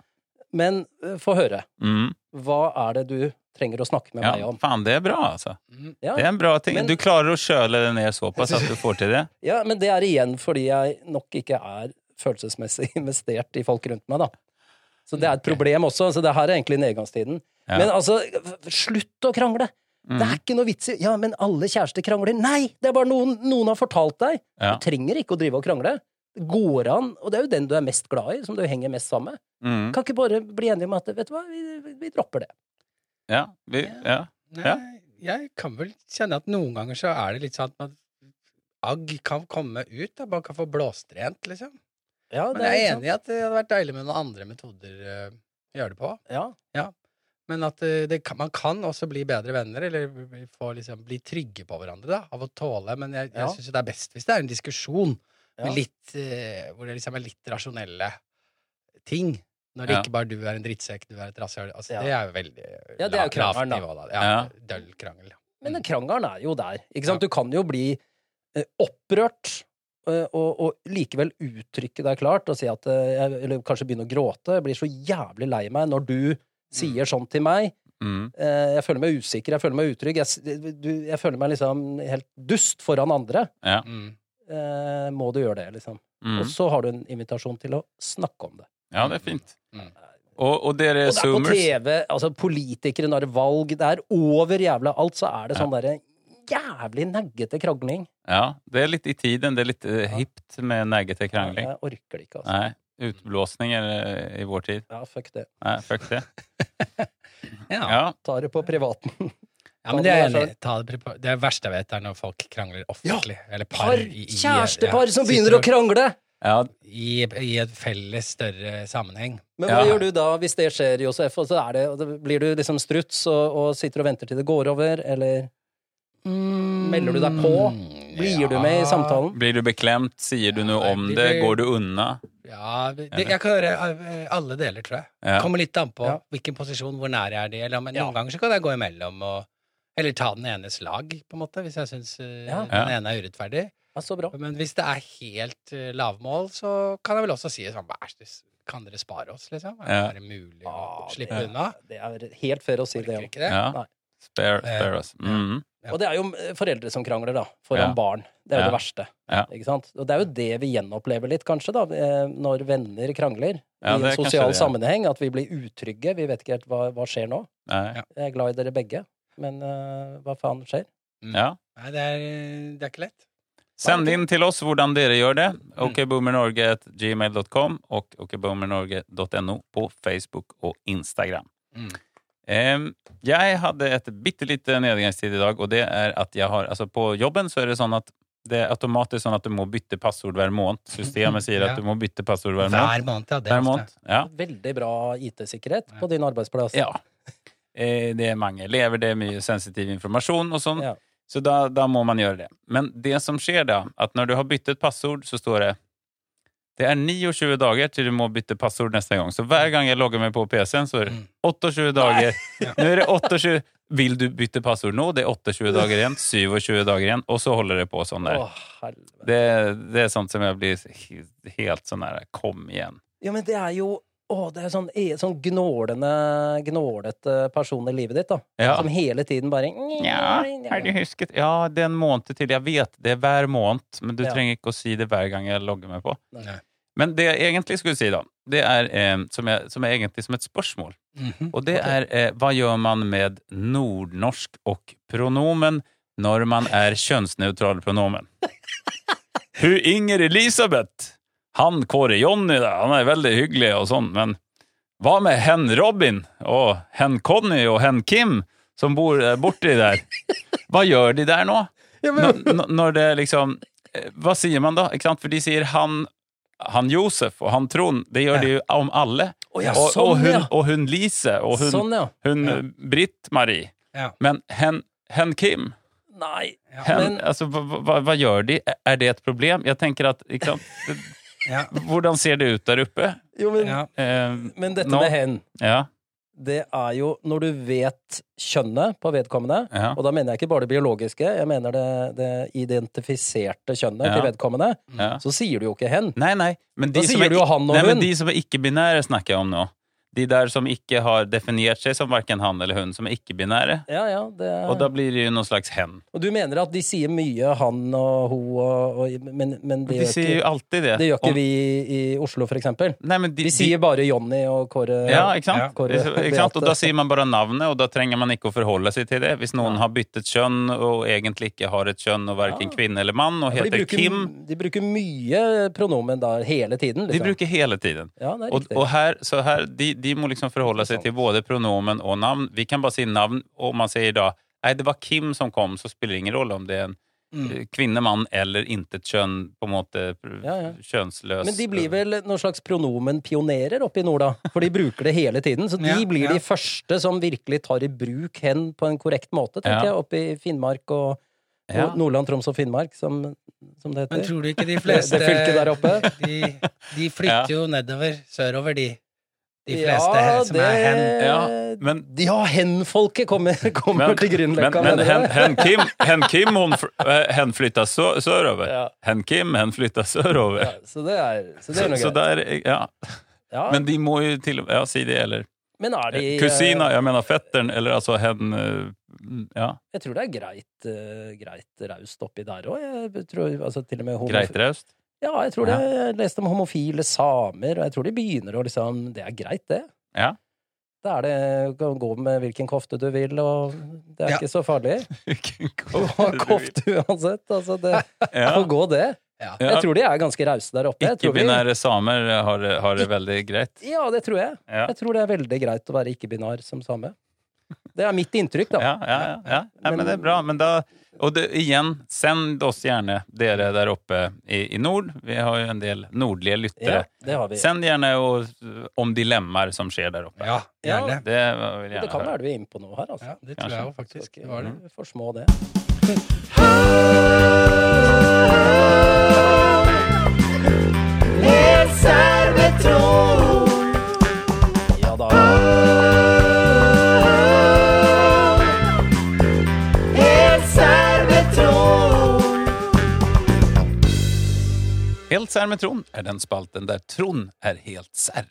A: Men eh, få høre.
B: Mm.
A: Hva er det du trenger å snakke med meg
B: ja.
A: om?
B: Faen, det er bra, altså.
A: Ja,
B: Det er en bra ting.
A: Men-
B: Du klarer å kjøle det ned såpass at du får til det.
A: ja, men det er igjen fordi jeg nok ikke er følelsesmessig investert i folk rundt meg, da. Så det er et problem også. Så det her er egentlig nedgangstiden.
B: Ja.
A: Men altså, f- slutt å krangle! Det
C: Mhm.
A: er ikke noe vits i Ja, men alle kjærester krangler. Nei! Det er bare noen, noen har fortalt deg.
B: Ja.
A: Du trenger ikke å drive og krangle. Det går an, og det er jo den du er mest glad i, som du henger mest sammen med.
B: Mm.
C: Mhm.
A: Kan ikke bare bli enige om at vet du hva, vi, vi- vi dropper det.
B: Ja. Vi, ja.
C: Nei,
B: Ja.
C: Jeg kan vel kjenne at noen ganger så er det litt sånn at man agg kan komme ut, da. Man kan få blåstrent, liksom.
A: Ja,
C: Men jeg er enig i at det hadde vært deilig med noen andre metoder eh, å gjøre det på.
A: Ja.
C: Men at eh, det kan, man kan også bli bedre venner, eller bli- få liksom, bli trygge på hverandre da, av å tåle. Men jeg, jeg
A: Ja.
C: syns det er best hvis det er en diskusjon
A: Ja.
C: med litt, eh, hvor det liksom er litt rasjonelle ting. Når det
B: Ja.
C: ikke bare du er en drittsekk, du er et rasshøl. Altså,
A: Ja.
C: Det er jo veldig eh,
A: Ja, det er jo
C: la- lavt
A: krangelen, da.
C: nivå, da. Ja,
B: Ja.
C: Døll krangel.
A: Men den krangelen er jo der. Ikke sant? Du kan jo bli eh, opprørt eh, og, og likevel uttrykke deg klart og si at eh, jeg, Eller kanskje begynne å gråte. Jeg blir så jævlig lei meg når du
C: Mm.
A: sier sånn til meg.
B: Mm.
A: Eh, Jeg føler meg usikker, jeg føler meg utrygg. Jeg, s- du, jeg føler meg liksom helt dust foran andre.
B: Ja.
C: Mm.
A: Eh, må du gjøre det, liksom?
B: Mm.
A: Og så har du en invitasjon til å snakke om det.
B: ja, det er fint.
C: Mm.
B: Og, og dere
A: Og det er på
B: zoomers
A: TV, altså politikere når det er valg, det er over jævla alt, så er det sånn derre jævlig neggete krangling.
B: ja, Det er litt i tiden. Det er litt eh, hipt med neggete krangling.
A: Jeg orker det ikke, altså.
B: Nei. Utblåsninger eh, i vår tid.
A: Ja, fuck det.
B: Nei, fuck det.
C: Ja.
B: Ja.
A: Ta det på privaten.
C: Ja, men det er enig. Ta det, pripa- det verste jeg vet, er når folk krangler offentlig. Eller par.
A: Par,
C: i- i-
A: kjærestepar
C: ja,
A: som
C: sitter
A: begynner å
C: og-
A: krangle!
B: ja.
C: I, I et felles, større sammenheng.
A: Men hva
B: Ja.
A: gjør du da hvis det skjer, Josef? Og så er det, og da blir du liksom struts og, og sitter og venter til det går over, eller Mm. Melder du deg på?
C: Mm,
A: blir du med i samtalen?
B: Blir du beklemt? Sier du noe om det? Går du unna?
C: Ja, det, jeg kan gjøre eh, alle deler, tror jeg.
B: Ja.
C: Kommer litt an på
A: Ja.
C: hvilken posisjon, hvor nær jeg er de, eller men
A: Ja.
C: noen ganger så kan jeg gå imellom og Eller ta den enes lag, på en måte, hvis jeg syns
A: Ja.
C: den ene er urettferdig.
A: Ja, så bra.
C: Men hvis det er helt eh, lavmål, så kan jeg vel også si sånn Vær så snill, kan dere spare oss, liksom?
B: Ja.
C: Er det mulig
A: Ah,
C: å slippe
A: det-
C: unna?
A: Det er helt fair å si det.
C: Orker
A: ja.
C: ikke det?
B: Ja.
A: Nei.
B: Spare, spare us. Mm.
C: Ja.
A: Og det er jo eh, foreldre som krangler, da, foran
B: Ja.
A: barn. Det er jo
B: Ja.
A: det verste.
B: Ja.
A: Ikke sant? Og det er jo det vi gjenopplever litt, kanskje, da, eh, når venner krangler.
B: Ja,
A: I en
B: det er kanskje
A: sosial
B: det, ja.
A: sammenheng. At vi blir utrygge. Vi vet ikke helt hva, hva skjer nå.
B: Nei.
A: Jeg er glad i dere begge, men eh, hva faen skjer?
B: Ja.
C: Nei, det er, det er ikke lett.
B: Send inn til oss hvordan dere gjør det. okboomernorge.gmail.com og okboomernorge.no på Facebook og Instagram.
C: Mm.
B: Ehm, Jeg hadde et bitte lite nedgangstid i dag, og det er at jeg har Altså, på jobben så er det sånn at det er automatisk sånn at du må bytte passord hver måned. Systemet sier at
C: Ja.
B: du må bytte passord hver måned.
C: Hver måned, ja. Det
B: Hver
C: er
B: måned.
C: ofte.
B: Ja.
A: Veldig bra IT-sikkerhet på din arbeidsplass.
B: ja. Eh, Det er mange elever, det er mye sensitiv informasjon og sånn.
A: Ja.
B: Så da, da må man gjøre det. Men det som skjer da, at når du har byttet passord, så står det det er 29 dager til du må bytte passord neste gang. Så hver gang jeg logger meg på PC-en, så er det
C: Mm.
B: 28 dager. Nå er det 28 Vil du bytte passord nå? Det er 28 dager igjen. 27 dager igjen. Og så holder det på sånn der.
A: Å, helvete.
B: Det, det er sånt som jeg blir he- helt sånn her Kom igjen.
A: Ja, men det er jo Å, det er sånn, e- sånn gnålende, gnålete person i livet ditt, da.
B: Ja.
A: Som hele tiden bare
B: Ja, har du husket Ja, det er en måned til. Jeg vet det er hver måned, men du
A: Ja.
B: trenger ikke å si det hver gang jeg logger meg på.
C: Nei.
B: Men det jeg egentlig skulle si, da, det er eh, som, jeg, som er egentlig som et spørsmål.
C: Mhm.
B: Og det er eh, hva gjør man med nordnorsk og pronomen når man er kjønnsnøytral pronomen? Fru Inger Elisabeth! Han Kåre Jonny, da, han er veldig hyggelig og sånn, men hva med hen Robin og hen Conny og hen Kim, som bor eh, borti der? Hva gjør de der nå? Når, når- når det liksom eh, Hva sier man da? Ikke sant? For de sier han, han Josef og han Trond. Det gjør de jo om alle.
A: Å ja,
B: og, og,
A: sånn,
B: hun,
A: ja.
B: og hun Lise og hun,
A: Sånn, ja.
B: hun
C: Ja.
B: Britt-Marie.
C: Ja.
B: Men hen, hen Kim
A: Nei.
B: hen,
A: Men-
B: altså, hva, hva, hva gjør de? Er det et problem? Jeg tenker at ikke sant? Det-
C: Ja.
B: Hvordan ser det ut der oppe?
A: Jo, men,
C: Ja.
B: Eh,
A: men dette
B: Nå-
A: med hen,
B: ja,
A: det er jo når du vet kjønnet på vedkommende,
B: ja,
A: og da mener jeg ikke bare det biologiske, jeg mener det, det identifiserte kjønnet
B: Ja.
A: til vedkommende,
B: ja.
A: så sier du jo ikke hen.
B: Nei, nei. Men
A: Da
B: de som
A: sier
B: er,
A: du jo han og
B: nei, men
A: hun.
B: de som er ikke-binære, snakker jeg om nå. De der som ikke har definert seg som verken han eller hun, som er ikke-binære.
A: Ja, ja, det er...
B: Og da blir det jo noen slags hen.
A: Og du mener at de sier mye han og ho, og, og, men, men det
B: De
A: gjør
B: sier jo
A: ikke,
B: alltid det.
A: det gjør ikke
B: Om-
A: vi i Oslo, for eksempel.
B: Nei, men de,
A: De sier bare Jonny og Kåre.
B: Ja, ikke sant?
A: Kåre
B: ikke sant? Og da
A: Beate.
B: sier man bare navnet, og da trenger man ikke å forholde seg til det. Hvis noen har byttet kjønn, og egentlig ikke har et kjønn, og verken
A: Ja.
B: kvinne eller mann, og
A: For de
B: heter
A: bruker,
B: Kim
A: De bruker mye pronomen da, hele tiden.
B: De
A: Liksom.
B: bruker hele tiden.
A: ja, det er
B: Og,
A: riktig.
B: og her, så her, de, de må liksom forholde seg til både pronomen og navn. Vi kan bare si navn, og man sier da Nei, det var Kim som kom, så spiller det ingen rolle om det er en
C: Mm.
B: eh, kvinne, mann eller intet kjønn, på en måte
A: Ja, ja.
B: kjønnsløs
A: Men de blir vel noen slags pronomenpionerer oppe i nord, da. For de bruker det hele tiden. Så de
C: Ja,
A: blir
C: ja.
A: de første som virkelig tar i bruk hen på en korrekt måte, tenker
B: Ja.
A: jeg, oppe i Finnmark og, og
B: eh, Ja.
A: Nordland, Troms og Finnmark, som, som det
C: Men
A: heter.
C: tror du ikke de
A: Det,
C: fleste
A: det fylket der oppe.
C: De, de flytter jo nedover sørover, de. De fleste her som er hen.
B: Ja, men
A: Ja, hen-folket kommer, kommer
B: Men,
A: til
B: men,
A: Grünerløkka.
B: men
A: mener
B: hen,
A: jeg.
B: hen, Kim, hen Kim hon, fr- eh, hen flyttar sö, sörover.
A: Ja.
B: Hen Kim hen flyttar sörover.
A: ja, så det er, så det er
B: så,
A: noe
B: så
A: greit.
B: der, ja.
A: ja. men,
B: Men de må jo til Ja, si det, eller
A: er de eh,
B: Kusina, jeg mener fetteren, eller altså hen eh, Ja,
A: Jeg tror det er greit, eh, greit raust oppi der òg. Jeg tror altså, til og med homof-
B: greit raust.
A: Ja, jeg tror det. Jeg leste om homofile samer, og jeg tror de begynner å liksom Det er greit, det.
B: Ja.
A: Da er det du kan gå med hvilken kofte du vil, og det er
C: Ja.
A: ikke så farlig.
B: Hvilken
A: Du har kofte uansett. Altså, det får
B: Ja.
A: gå, det.
C: Ja.
B: Ja.
A: Jeg tror de er ganske rause der oppe. Jeg tror vi-
B: Ikke-binære samer har, det- har det veldig greit.
A: Ja, det tror jeg.
B: Ja,
A: Jeg tror det er veldig greit å være ikke-binar som same. Det er mitt inntrykk,
B: ja,
A: da.
B: ja. ja, ja. Nei, men det er bra. Men da, og det, igjen, send oss gjerne dere der oppe i, i nord. Vi har jo en del nordlige lyttere.
A: Ja, det har vi.
B: Send gjerne og, om dilemmaer som skjer der oppe.
C: ja, gjerne.
B: Det vil jeg
A: Det
B: gjerne
A: kan
B: høre.
A: være du er inne på noe her, altså.
C: Ja, det tror jeg jo
A: Skal
C: faktisk.
A: ikke
C: Det var det.
A: for små det. Ja da.
B: Helt sær med Trond er den spalten der Trond er helt sær.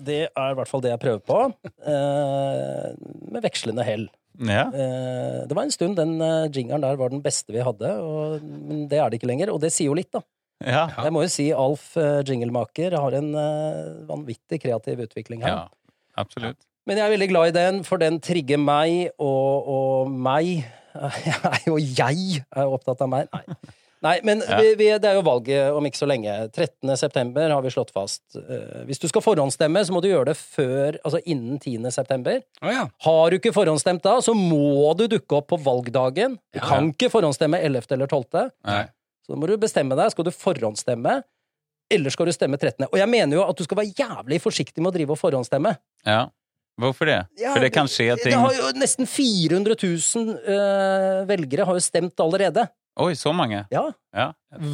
A: Det er i hvert fall det jeg prøver på, eh, med vekslende hell.
B: Ja.
A: Eh, det var en stund den eh, jingeren der var den beste vi hadde, og, men det er det ikke lenger. Og det sier jo litt, da.
B: Ja.
A: Jeg må jo si Alf eh, Jinglemaker har en eh, vanvittig kreativ utvikling her.
B: ja. Absolutt.
A: Men jeg er veldig glad i den, for den trigger meg og, og meg. Jeg er jo jeg er jo opptatt av meg. Nei, Nei men
B: Ja.
A: vi, vi, det er jo valget om ikke så lenge. 13. september har vi slått fast. Eh, Hvis du skal forhåndsstemme, så må du gjøre det før, altså innen 10. september.
C: Å ja.
A: Har du ikke forhåndsstemt da, så må du dukke opp på valgdagen. Du
C: Ja.
A: kan ikke forhåndsstemme 11. eller 12.
B: Nei.
A: Så da må du bestemme deg. Skal du forhåndsstemme, eller skal du stemme 13.? Og jeg mener jo at du skal være jævlig forsiktig med å drive og forhåndsstemme.
B: Ja. Hvorfor det?
A: Ja,
B: For det kan skje
A: Det
B: ting
A: har jo nesten 400 000 eh, velgere har jo stemt allerede.
B: Oi, så mange?
A: Ja.
B: Ja.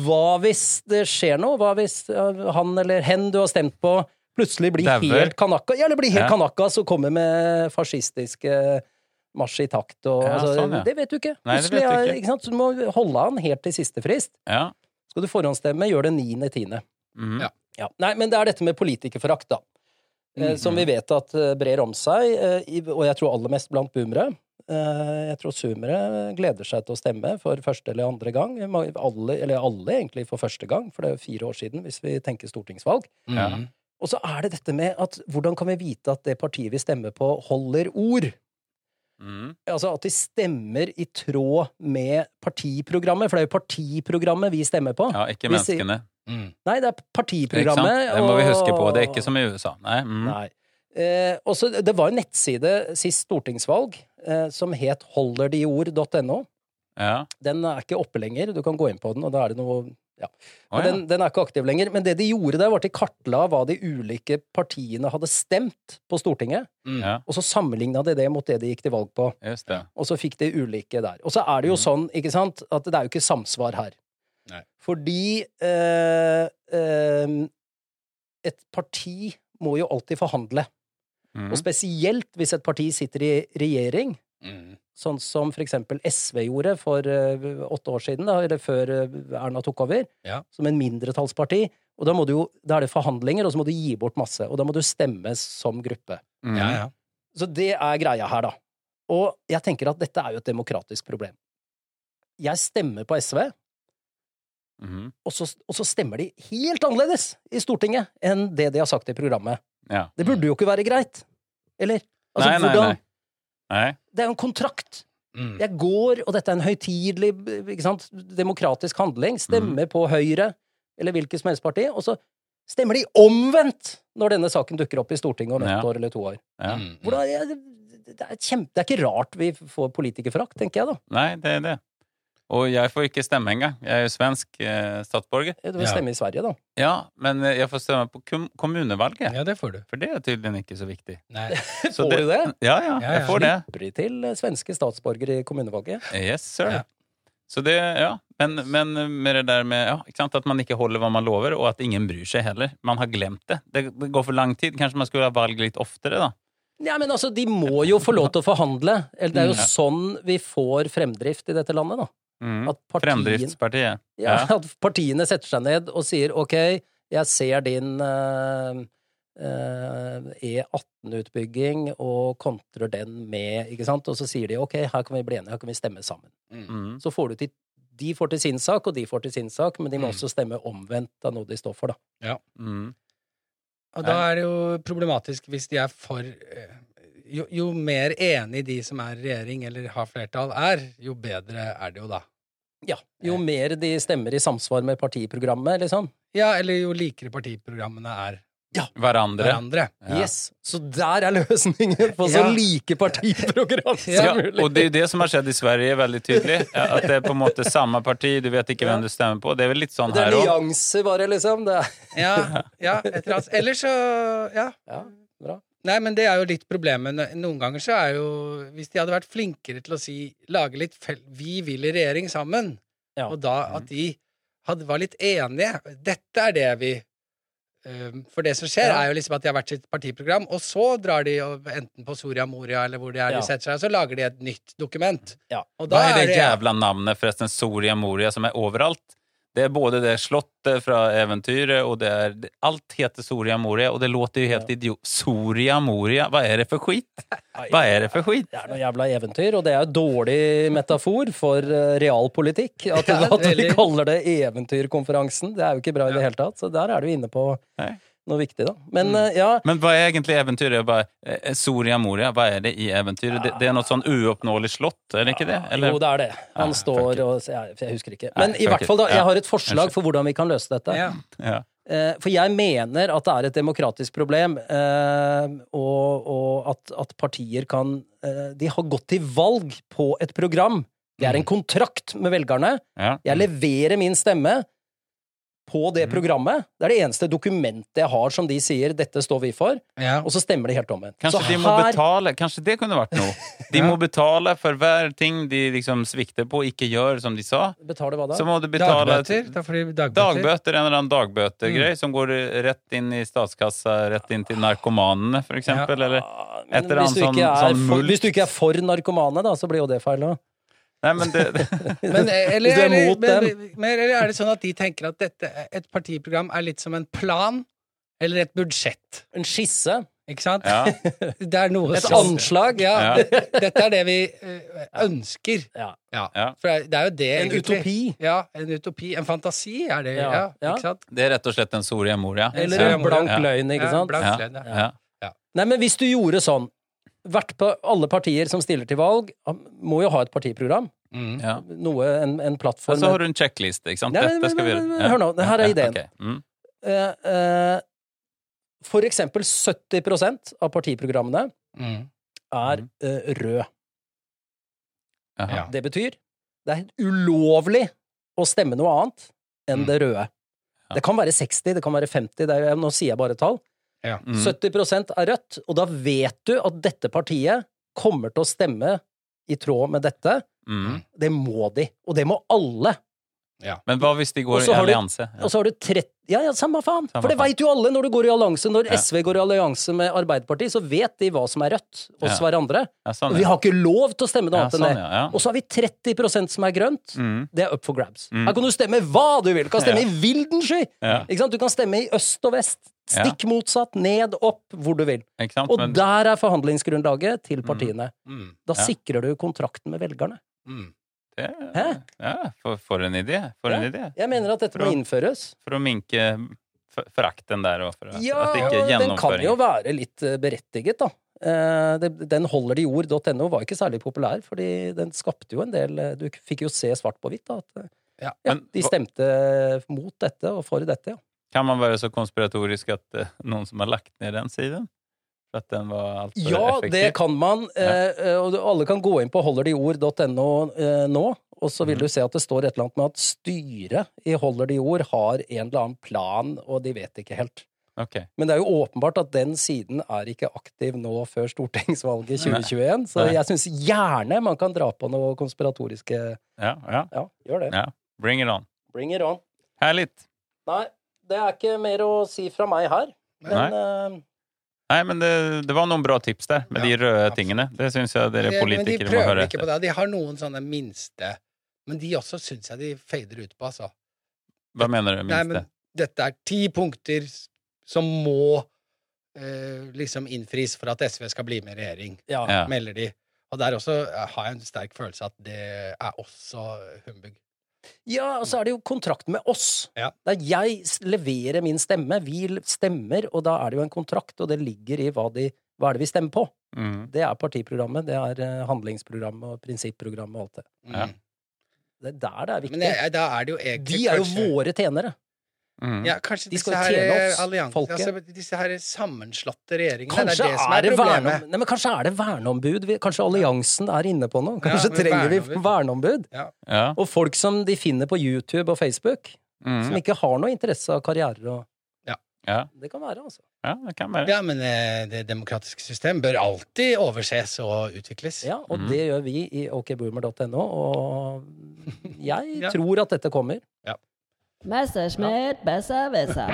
A: Hva hvis det skjer noe? Hva hvis eh, han eller hen du har stemt på, plutselig blir
B: Dauer.
A: helt kanakka? Ja, eller blir helt
B: Ja.
A: kanakkas og kommer med fascistiske marsj i takt og
B: Ja,
A: altså,
B: sånn, ja.
A: Det vet du ikke.
B: Nei, det vet
A: Plutselig
B: du
A: er-
B: ikke.
A: sant? Så du må holde han helt til siste frist.
B: Ja.
A: Skal du forhåndsstemme, gjør det 9.10.
B: Mhm.
C: Ja.
A: Ja. Nei, men det er dette med politikerforakt, da. Eh, Som vi
B: Mhm.
A: vet at eh, brer om seg, eh, i- og jeg tror aller mest blant boomere. Eh, Jeg tror zoomere gleder seg til å stemme for første eller andre gang. Ma- Alle, eller alle egentlig for første gang, for det er jo fire år siden hvis vi tenker stortingsvalg.
B: Ja.
C: Mhm.
A: Og så er det dette med at hvordan kan vi vite at det partiet vi stemmer på, holder ord?
B: Mhm.
A: Altså at de stemmer i tråd med partiprogrammet, for det er jo partiprogrammet vi stemmer på.
B: ja. Ikke
A: Vi sier-
B: menneskene.
C: Mhm.
A: Nei, det er
B: Ikke sant?
A: partiprogrammet.
B: Det må vi
A: og-
B: huske på. Det er ikke som i USA. Nei. mhm.
A: Nei. Eh, også, det var en nettside sist stortingsvalg eh, som het holderdeord.no.
B: Ja.
A: Den er ikke oppe lenger. Du kan gå inn på den, og da er det noe ja.
B: Å,
A: Men
B: ja.
A: den, den er ikke aktiv lenger. Men det de gjorde der, var at de kartla hva de ulike partiene hadde stemt på Stortinget,
C: Mhm.
B: Ja.
A: og så sammenligna de det mot det de gikk til valg på.
B: Just det.
A: Og så fikk de ulike der. Og så er
B: Mm.
A: det jo sånn, ikke sant, at det er jo ikke samsvar her.
C: Nei.
A: Fordi eh, eh, et parti må jo alltid forhandle.
B: Mhm.
A: Og spesielt hvis et parti sitter i regjering,
C: Mhm.
A: sånn som for eksempel SV gjorde for eh, åtte år siden, da, eller før eh, Erna tok over,
C: Ja.
A: som en mindretallsparti. Og da, må du jo, da er det forhandlinger, og så må du gi bort masse. Og da må du stemme som gruppe.
B: Mhm.
C: Mm. Ja, ja.
A: Så det er greia her, da. Og jeg tenker at dette er jo et demokratisk problem. Jeg stemmer på SV,
B: Mhm.
A: og så, og så stemmer de helt annerledes i Stortinget enn det de har sagt i programmet.
B: Ja.
A: Det burde jo ikke være greit. Eller? Altså,
B: Mm. Nei, nei,
A: hvordan-
B: nei. Nei.
A: Det er jo en kontrakt.
B: Mm.
C: Mhm.
A: Jeg går, og dette er en høytidelig, ikke sant, demokratisk handling,
B: Mm.
A: stemmer på Høyre eller hvilket som helst parti, og så stemmer de omvendt når denne saken dukker opp i Stortinget om ett
B: Ja. Mm.
A: år eller to år.
B: Ja.
C: Mhm.
A: Hvordan, jeg, det, er kjempe, det er ikke rart vi får politikerforakt, tenker jeg da.
B: Nei, det er det. Og jeg får ikke stemme engang. Jeg er jo svensk eh, statsborger.
A: Du vil
C: Ja.
A: stemme i Sverige, da.
B: Ja, men eh, jeg får stemme på kom kommunevalget.
C: Mm. Ja, det får du.
B: For det er tydeligvis ikke så viktig.
C: Nei.
B: Så
A: Får du det?
B: Ja, ja,
C: Ja,
B: jeg
C: ja.
B: får det.
A: Slipper de til eh, svenske statsborgere i kommunevalget?
B: Yes, sir.
C: Ja.
B: Så det, ja. Men, men med det der med ja, ikke sant? at man ikke holder hva man lover, og at ingen bryr seg heller. Man har glemt det. Det, det går for lang tid. Kanskje man skulle ha valg litt oftere, da.
A: Ja, men altså, de må jo få lov til å forhandle. Eller det er jo
B: Mm, ja.
A: sånn vi får fremdrift i dette landet, da.
B: Mm.
A: At partien,
B: Fremdriftspartiet.
A: ja, at partiene setter seg ned og sier ok, jeg ser din eh, eh, E18-utbygging og kontrer den med Ikke sant? Og så sier de ok, her kan vi bli enige, her kan vi stemme sammen.
B: Mm.
A: Så får du til De får til sin sak, og de får til sin sak, men de må også stemme omvendt av noe de står for, da.
B: Mm.
C: Og da er det jo problematisk hvis de er for eh, jo, jo mer enig de som er i regjering eller har flertall er, jo bedre er det jo da.
A: Ja. Jo mer de stemmer i samsvar med partiprogrammet, liksom.
C: Ja, eller jo likere partiprogrammene er
B: Hverandre.
C: hverandre.
B: Ja.
A: Yes! Så der er løsningen på så
C: Ja.
A: like partiprogram som
B: Ja,
A: mulig!
B: og det er jo det som har skjedd i Sverige, veldig tydelig. Ja, At det er på en måte samme parti, du vet ikke hvem du stemmer på. Det er vel litt sånn
A: Det er
B: her òg.
A: nyanser, bare, liksom. Det er,
C: Ja, ja et eller annet. Ellers så Ja.
A: ja, bra.
C: Nei, men det er jo litt problemet. Nå- Noen ganger så er jo Hvis de hadde vært flinkere til å si lage litt fel Vi vil i regjering sammen,
A: Ja.
C: og da at de hadde, var litt enige Dette er det vi øhm, For det som skjer,
A: Ja.
C: er jo liksom at de har hvert sitt partiprogram, og så drar de og, enten på Soria Moria eller hvor de er
A: Ja.
C: de setter seg, og så lager de et nytt dokument.
A: Ja.
C: Og
B: Hva er det jævla navnet, forresten? Soria Moria, som er overalt? Det er både det slottet fra eventyret, og det er det- Alt heter Soria Moria, og det låter jo helt idiot. Soria Moria, hva er det for skit? Hva er det for skit?
A: Det er noe jævla eventyr, og det er jo dårlig metafor for eh, realpolitikk. At,
C: Ja,
A: at vi
C: veldig.
A: kaller det Eventyrkonferansen. Det er jo ikke bra i det hele tatt. Så der er du inne på
B: Nei.
A: noe viktig, da. Men
C: Mm.
A: eh, ja,
B: Men hva er egentlig eventyret? Hva- eh, Soria Moria, hva er det i eventyret? Det, det er noe sånn uoppnåelig slott, er det ikke det? Eller?
A: jo, det er det. Han
B: Ja, fuck
A: står
B: it.
A: og jeg, jeg husker ikke.
B: Nei,
A: Men i
B: fuck
A: hvert
B: it.
A: fall, da.
B: Ja.
A: Jeg har et forslag for hvordan vi kan løse dette.
C: Ja.
B: Ja.
A: Eh, For jeg mener at det er et demokratisk problem, eh, og, og at, at partier kan eh, De har gått til valg på et program. Det er en
B: Mm.
A: kontrakt med velgerne.
B: Ja.
A: Jeg leverer min stemme på det
B: Mm.
A: programmet. Det er det eneste dokumentet jeg har som de sier 'dette står vi for',
C: Ja.
A: og så stemmer det helt omvendt.
B: Kanskje
A: Så
B: de må
A: her-
B: betale Kanskje det kunne vært noe? De må betale for hver ting de liksom svikter på og ikke gjør som de sa.
A: Betaler hva da?
B: Så må du betale
C: Dagbøter? Da får de dagbøter.
B: Dagbøter, en eller annen dagbøtergreie
A: Mm.
B: som går rett inn i statskassa, rett inn til narkomanene, for eksempel, eller
A: Ja, Ah, men
B: et eller annet
A: hvis du ikke
B: sånn,
A: er
B: sånn
A: for,
B: mulkt.
A: Hvis du ikke er for narkomane, da, så blir jo det feil òg.
B: Nei, men det,
C: Men, eller,
A: Hvis du er
C: eller-
A: mot
C: men,
A: dem.
C: Men, eller er det sånn at de tenker at dette, et partiprogram er litt som en plan eller et budsjett?
A: En skisse.
C: Ikke sant?
B: ja.
C: Det er noe
A: Et
C: som-
A: anslag.
C: Ja.
B: Ja.
C: Dette er det vi eh, ønsker.
A: Ja.
B: Ja.
C: For det er- det er jo det
A: En
C: egentlig.
A: utopi.
C: Ja, en utopi. En fantasi er det,
A: Ja.
C: ja.
A: Ja.
C: Ikke sant?
B: det er rett og slett en Soria Moria.
A: Eller
C: Soria
A: en blank
B: Moria.
A: løgn, ikke sant?
C: Ja,
B: Ja.
C: blankt ledd, ja.
B: Ja.
A: Nei, men hvis du gjorde sånn Hvert på alle partier som stiller til valg, må jo ha et partiprogram.
C: Mm.
B: Ja.
A: Noe, en, en
B: Og
A: plattform.
B: så Altså, har du en sjekkliste, ikke sant?
A: Nei, men-
B: Dette skal vi
A: men- men-
B: gjøre.
A: hør nå, det her er
B: Ja,
A: ideen.
B: ok. Mm.
A: Eh, eh, for eksempel 70 av partiprogrammene
C: Mm.
A: er
B: Mhm.
A: eh, rød.
B: Jaha.
C: Ja.
A: Det betyr det er helt ulovlig å stemme noe annet enn
C: Mm.
A: det røde.
B: Mhm. Ja.
A: Det kan være 60, det kan være 50, det er, jo- nå sier jeg bare tall.
B: Mm.
A: 70 er rødt, og da vet du at dette partiet kommer til å stemme i tråd med dette.
B: Mm.
A: Det må de, og det må alle.
B: Men hva hvis de
A: Og
B: går
A: så
B: i
A: har du-
B: allianse?
A: Og så har du 30 Ja, ja, samme faen!
B: Samme
A: For det
B: faen.
A: veit jo alle når du går i allianse. Når
B: Ja.
A: SV går i allianse med Arbeiderpartiet, så vet de hva som er rødt hos
B: Ja.
A: hverandre.
B: Ja,
A: Og
B: sånn,
A: vi
B: ja.
A: har ikke lov til å stemme noe
B: Ja,
A: annet enn
B: sånn,
A: det.
B: ja. ja.
A: Og så har vi 30 som er grønt.
B: Mm.
A: Det er up for grabs.
B: Mm.
A: Her kan du stemme hva du vil! Du kan stemme
B: Ja.
A: i vilden sky!
B: Ja.
A: Ikke sant? Du kan stemme i øst og vest.
B: Ja.
A: Stikk motsatt, ned, opp, hvor du vil.
B: Ikke sant?
A: Og
B: Men-
A: der er forhandlingsgrunnlaget til
B: Mm.
A: partiene.
C: Mm.
A: Da
B: Ja.
A: sikrer du kontrakten med velgerne.
C: Mm.
B: Det,
A: Hæ?
B: ja, for, for en idé. For en
A: Ja.
B: idé.
A: Jeg mener at dette
B: Bra.
A: må innføres.
B: For å minke f- forakten der, og for at,
A: Ja,
B: at ikke
A: den kan jo
B: gjennomføringen
A: være litt eh, berettiget, da. Eh, det- Den holderdeijord.no var ikke særlig populær, fordi den skapte jo en del eh, Du fikk jo se svart på hvitt, da. At eh,
C: Ja.
A: ja,
B: Men
A: de
B: hva-
A: stemte mot dette og for dette, ja.
B: Kan man være så konspiratorisk at eh, noen som har lagt ned den siden? For at den var altfor
A: Ja,
B: effektiv?
A: det kan man. eh, eh, Og du- alle kan gå inn på holderdeijord.no eh, nå, og så vil
B: Mhm.
A: du se at det står et eller annet med at styret i Holder de Jord har en eller annen plan, og de vet ikke helt.
B: Ok.
A: Men det er jo åpenbart at den siden er ikke aktiv nå før stortingsvalget 2021. Så
B: Nei.
A: jeg syns gjerne man kan dra på noe konspiratoriske
B: Ja, ja.
A: Ja, gjør det.
B: ja. Bring it on.
A: Bring it on.
B: Härligt.
A: Nei, det er ikke mer å si fra meg her. Men eh,
B: Nei, men det, det var noen bra tips der, med de
C: Ja,
B: røde
C: absolutt.
B: tingene. Det syns jeg dere
C: Det- men de
B: politikere må
C: prøver
B: høre
C: ikke på
B: etter.
C: det. De har noen sånne minste Men de også syns jeg de fader ut på, altså.
B: Hva mener du,
C: Nei,
B: minste?
C: men dette er ti punkter s- som må eh, liksom innfris for at SV skal bli med i regjering,
A: ja.
B: Ja.
C: melder de. Og der også eh, har jeg en sterk følelse at det er også humbug.
A: ja, og så er det jo kontrakten med oss.
C: Ja.
A: Der jeg s- leverer min stemme. Vi l- stemmer, og da er det jo en kontrakt, og det ligger i hva, de, hva er det vi stemmer på.
B: Mm.
A: Det er partiprogrammet, det er eh, handlingsprogrammet og prinsipprogrammet og alt det.
C: Mm.
B: Ja.
A: Det er der det er viktig.
C: Men jeg- jeg- da er det jo egentlig
A: De er jo
C: kanskje-
A: våre tjenere.
B: Mm.
C: ja, kanskje
A: De
C: disse
A: skal
C: her,
A: tjene
C: eh,
A: oss,
C: alliansene,
A: folket.
C: altså, disse her sammenslåtte regjeringene,
A: Kanskje
C: det er det som er problemet.
A: verneom- Nei, men kanskje er det verneombud? vi- Kanskje alliansen er inne på noe? Kanskje
C: men
A: trenger vi
C: verneombud.
A: verneombud?
B: Ja.
A: Og folk som de finner på YouTube og Facebook, som
B: Mm.
A: ikke har noe interesse av karrierer og
B: ja.
A: Det kan være, altså.
B: Ja, det kan være.
C: Ja, men eh, det demokratiske system bør alltid overses og utvikles.
A: Ja, og
B: Mm.
A: det gjør vi i okboomer.no, og jeg
C: Ja.
A: tror at dette kommer.
D: Messerschmidt, besser, besser.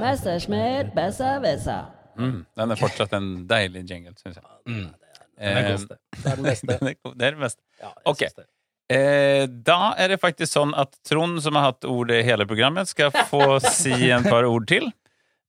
D: Messerschmidt, besser, besser.
B: Mm. Den er fortsatt en deilig jingle, syns jeg.
C: Mm.
A: Det er,
B: Eh,
A: det er den beste.
B: den er god. det er det beste.
A: Ja, jeg
B: Ok.
A: synes det.
B: Eh, da er det faktisk sånn at Trond, som har hatt ordet i hele programmet, skal få si en par ord til.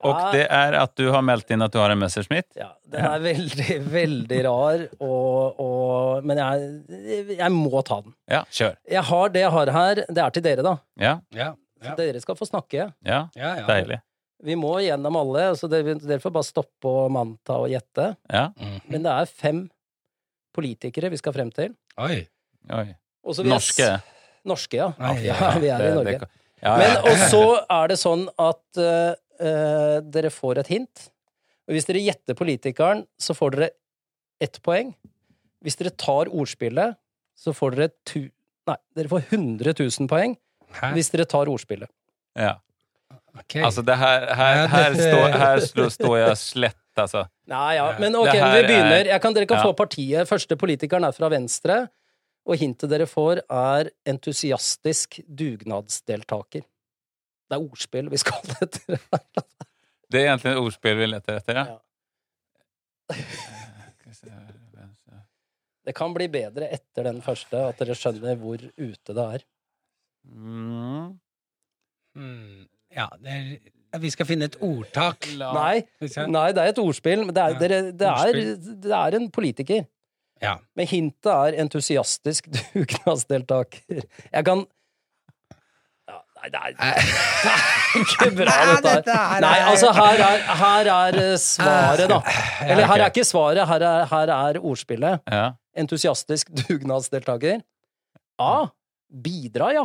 B: Og det er at du har meldt inn at du har en Messerschmitt.
A: Ja, den er veldig, veldig rar, og, og, men jeg, jeg må ta den.
B: Ja, kjør.
A: Jeg har det jeg har her. Det er til dere, da.
B: Ja,
C: Ja, ja,
A: Dere skal få snakke.
B: ja.
C: ja, ja.
B: Deilig.
A: Vi må gjennom alle, så dere, dere får bare stoppe og manta og gjette.
B: Ja.
C: Mm.
A: Men det er fem politikere vi skal frem til.
C: Oi.
B: Oi.
A: Og så vil jeg s-
B: Norske.
A: Norske, ja.
C: Ai,
A: ja,
C: ja,
A: vi er i
B: Det-
A: Norge.
B: det- Ja,
A: Men
B: ja.
A: og så er det sånn at eh, eh, dere får et hint. Og hvis dere gjetter politikeren, så får dere ett poeng. Hvis dere tar ordspillet, så får dere tu... Nei, dere får 100 000 poeng
C: Hæ?
A: hvis dere tar ordspillet.
B: ja.
C: Ok.
B: Altså, det her, her, her, står, her står- står jeg slett, altså.
A: Nei, ja, men
B: Det
A: ok,
B: her
A: vi begynner.
B: er-
A: Jeg kan, dere kan
B: ja.
A: få partiet. Første politikeren er fra Venstre, og hintet dere får er entusiastisk dugnadsdeltaker. Det er ordspill vi skal etter.
B: Det er egentlig et ordspill vi leter etter, ja.
A: Ja. Det kan bli bedre etter den første, at dere skjønner hvor ute det er.
B: Mm.
C: Mm. Ja, det er, vi skal finne et ordtak.
A: Nei,
C: Ikke sant?
A: nei, det er et ordspill, men det er,
C: Ja,
A: dere, det er, det er en politiker.
C: Ja.
A: Men hintet er entusiastisk dugnadsdeltaker. Jeg kan ja, Nei, det er, det er ikke bra,
C: Nei,
A: dette
C: dette her
A: her.
C: er-
A: Nei, altså, her er, her er eh, svaret, da. Eller her er
B: ok.
A: ikke svaret, her er, her er ordspillet.
B: Ja.
A: Entusiastisk dugnadsdeltaker. A. Bidra, ja.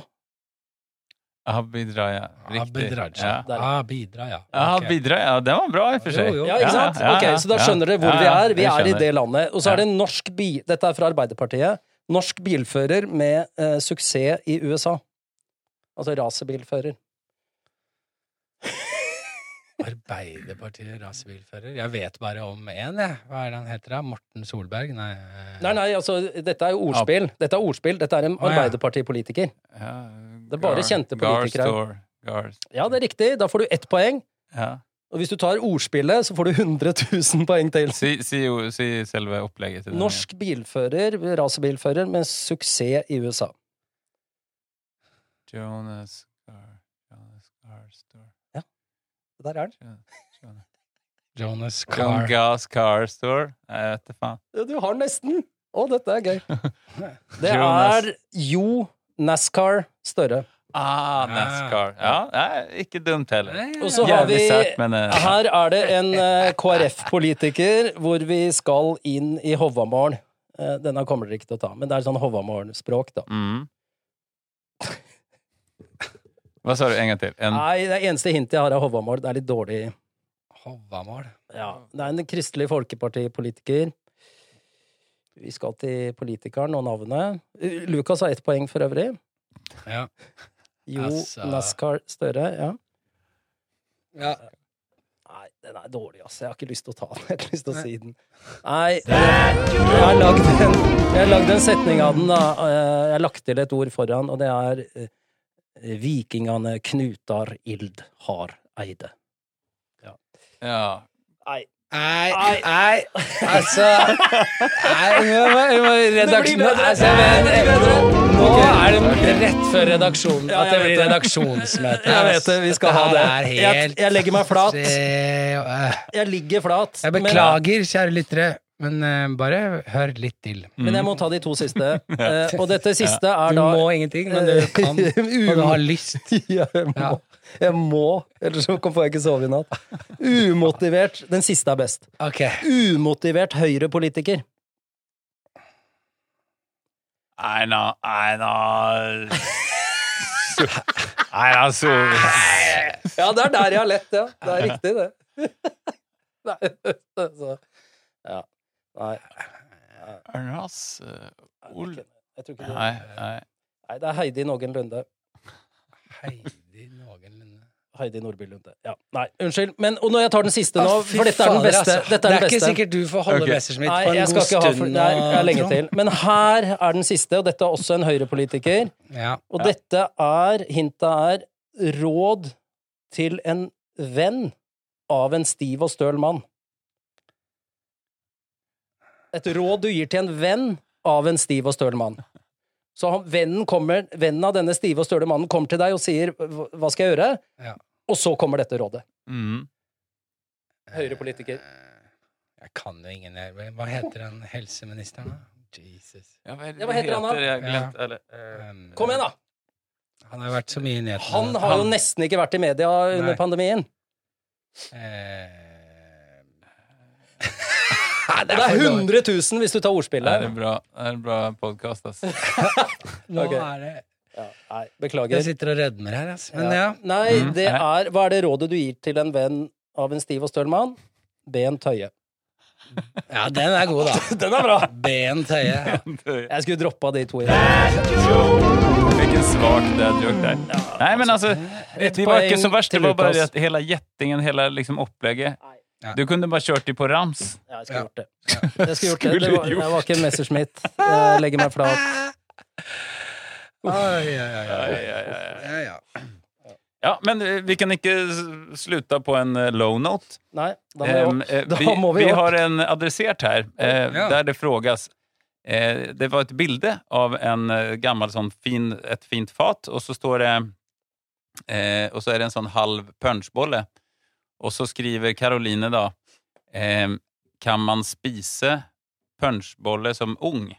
B: Abidra, ja. Riktig.
C: Abidradja.
B: Ja.
A: Der.
C: Ah, bidra, ja.
B: Ja,
C: Ok.
B: bidra, ja. Den var bra, i og for seg.
C: Jo, jo.
A: Ja, ikke sant?
B: Ja, ja,
A: Ok, Så da
B: ja.
A: skjønner dere hvor
B: Ja,
A: vi
B: ja,
A: er. Vi
B: jeg
A: er i
B: skjønner.
A: det landet. Og så
B: Ja.
A: er det en norsk bi... Dette er fra Arbeiderpartiet. Norsk bilfører med eh, suksess i USA. Altså racerbilfører.
C: Arbeiderpartiet rasebilfører. Jeg vet bare om én, jeg. Hva er det han heter? da? Morten Solberg? Nei. eh,
A: Nei, nei, altså, dette er jo ordspill. Dette er ordspill. Dette er en
C: ja.
A: Arbeiderpartipolitiker.
B: Ja,
A: Det er bare
B: Gar-
A: kjente
B: Gar
A: politikere.
B: Store. Gar-
A: Ja, det er riktig. Da får du ett poeng.
B: Ja.
A: Og hvis du tar ordspillet, så får du 100 000 poeng til.
B: Si, si, jo- si selve opplegget til den.
A: Norsk bilfører, racerbilfører med suksess i USA.
B: Jonas Gar, Jonas Gar Store.
A: Der er den.
B: Jonas-
C: Jonas
B: John
C: Carr.
B: Gas Car Store. Nei, Jeg vet da faen.
A: Ja, Du har nesten! Å, dette er gøy. Det
B: Jonas.
A: er Jo Nascar Støre.
B: Ah, NASCAR. Ja, det er ikke dumt heller.
C: Nei,
A: Og så har
B: Jævlig
A: vi
B: sært, men eh,
A: Her er det en eh, KrF-politiker hvor vi skal inn i Hovamorgen. Eh, Denne kommer dere ikke til å ta, men det er sånn Hovamorgen-språk, da.
B: mm. Hva sa du en gang til? En, Mm.
A: Ah. Nei, det eneste hintet jeg har, er Hovamorgen. Det er litt dårlig
C: Havamal.
A: Ja, det er en kristelig folkepartipolitiker. Vi skal til politikeren og navnet. Uh, Lukas har ett poeng for øvrig.
C: Ja.
A: Jo
C: Altså.
A: NASCAR Støre. ja.
C: ja.
A: Nei, den er dårlig, ass. Jeg har ikke lyst til å ta den. Jeg har ikke lyst til å si den. Nei. Jeg har lagd en, jeg har lagd en setning av den, da. Eh, Jeg har lagt til et ord foran, og det er eh, Vikingane knutar ild har eide.
B: Ja.
A: Nei.
C: Nei, nei, altså Nei, nå må- nå må redaksjonen
A: Det blir bedre.
C: altså, men,
A: Det blir bedre.
C: Nå er det rett før redaksjonen at det
A: jeg vet
C: blir
A: det.
C: redaksjonsmøte.
A: Jeg vet det, vi skal ha det.
C: her er
A: Jeg,
C: helt
A: jeg legger meg flat.
C: Eh, øh.
A: Jeg ligger flat.
C: Jeg beklager, kjære lyttere, men eh, bare hør litt til.
A: Men, men jeg må ta de to siste. Eh, Og dette siste er
C: Du
A: da
C: må ingenting, men du kan
A: Um.
C: og du har lyst.
A: Ja, jeg må. Jeg må, ellers så får jeg ikke sove i natt. Umotivert. Den siste er best.
C: Ok.
A: Umotivert høyrepolitiker.
B: Einar Einar Einar Solberg.
A: Ja, det er der jeg har lett, ja. Det er riktig, det. Nei, altså. Ja. Nei,
B: Ras eh, Ol...
A: jeg tror ikke det.
B: Nei, nei.
A: Nei, det er Heidi Nogen Lunde.
C: Heidi noenlunde.
A: Heidi Nordby Lunde. Ja. Nei, unnskyld. Men, og når jeg tar den siste nå,
C: Å, fy
A: for dette er den
C: fader,
A: beste.
C: altså.
A: Dette er den
C: Det er ikke
A: beste.
C: sikkert du får holde
B: Ok.
C: Messerschmitt
A: Nei,
C: på en
A: jeg skal
C: god
A: ikke ha
C: stund.
A: for, nei,
C: nå,
A: jeg er lenge
C: Trond.
A: til. Men her er den siste, og dette er også en høyrepolitiker.
C: Ja.
A: Og dette er, hintet er, råd til en venn av en stiv og støl mann. Et råd du gir til en venn av en stiv og støl mann. Så han, vennen, kommer, vennen av denne stive og støle mannen kommer til deg og sier hva hva skal jeg gjøre?
C: Ja.
A: Og så kommer dette rådet.
B: Mm.
A: Høyrepolitiker.
C: Jeg kan jo ingen her. Hva heter den helseministeren, da? Jesus.
B: Ja, hva,
A: Ja, hva heter han da?
B: Jeg har glemt, eh, eller,
C: Um,
A: Kom igjen, da!
C: Han har jo vært så mye i nyhetene.
A: Han har jo
B: Han-
A: nesten ikke vært i media under
C: Nei.
A: pandemien.
C: Eh,
A: Det er 100 000 hvis du tar ordspillet.
B: det er bra, det er bra altså. podkast, ass.
C: Nå
A: Ok.
C: er det
A: Ja, nei, beklager.
C: Jeg sitter og redmer her, altså. Men ja.
A: Ja. Nei,
B: Mm.
A: det er Hva er det rådet du gir til en venn av en stiv og støl mann? Be en tøye.
C: ja, den er god, da.
A: Den er bra!
C: Ben Tøye.
A: Jeg skulle droppa de to. i dag.
B: Vilken svag död joke där.
A: altså.
B: Nej, men alltså, det var
A: poäng
B: inte så värst. Det
A: till
B: var bara det
A: Lukas.
B: att hela jättingen, hela liksom opplägget.
C: Nej.
B: Du kunde bara kört det på rams.
A: Ja, jeg skulle gjort det. Jeg skulle gjort det.
B: Skulle
A: det var,
B: gjort.
A: jeg var ikke en Messerschmitt. Jeg legger meg flat.
C: Oi, oi, oi, oi. Ja, ja.
B: Ja, men eh, vi kan inte s- sluta på en eh, low note.
A: Nei, da må vi
B: Ehm,
A: opp.
B: eh,
A: Da
B: vi,
A: må vi
B: vi
A: opp.
B: har en adressert her, eh,
C: Ja.
B: der det frågas. Eh, det var ett bilde av en eh, gammal sån fin, ett fint fat och så står det eh, och så är det en sån halv punchbolle. Och så skriver Caroline då, eh, kan man spise punchbolle som ung?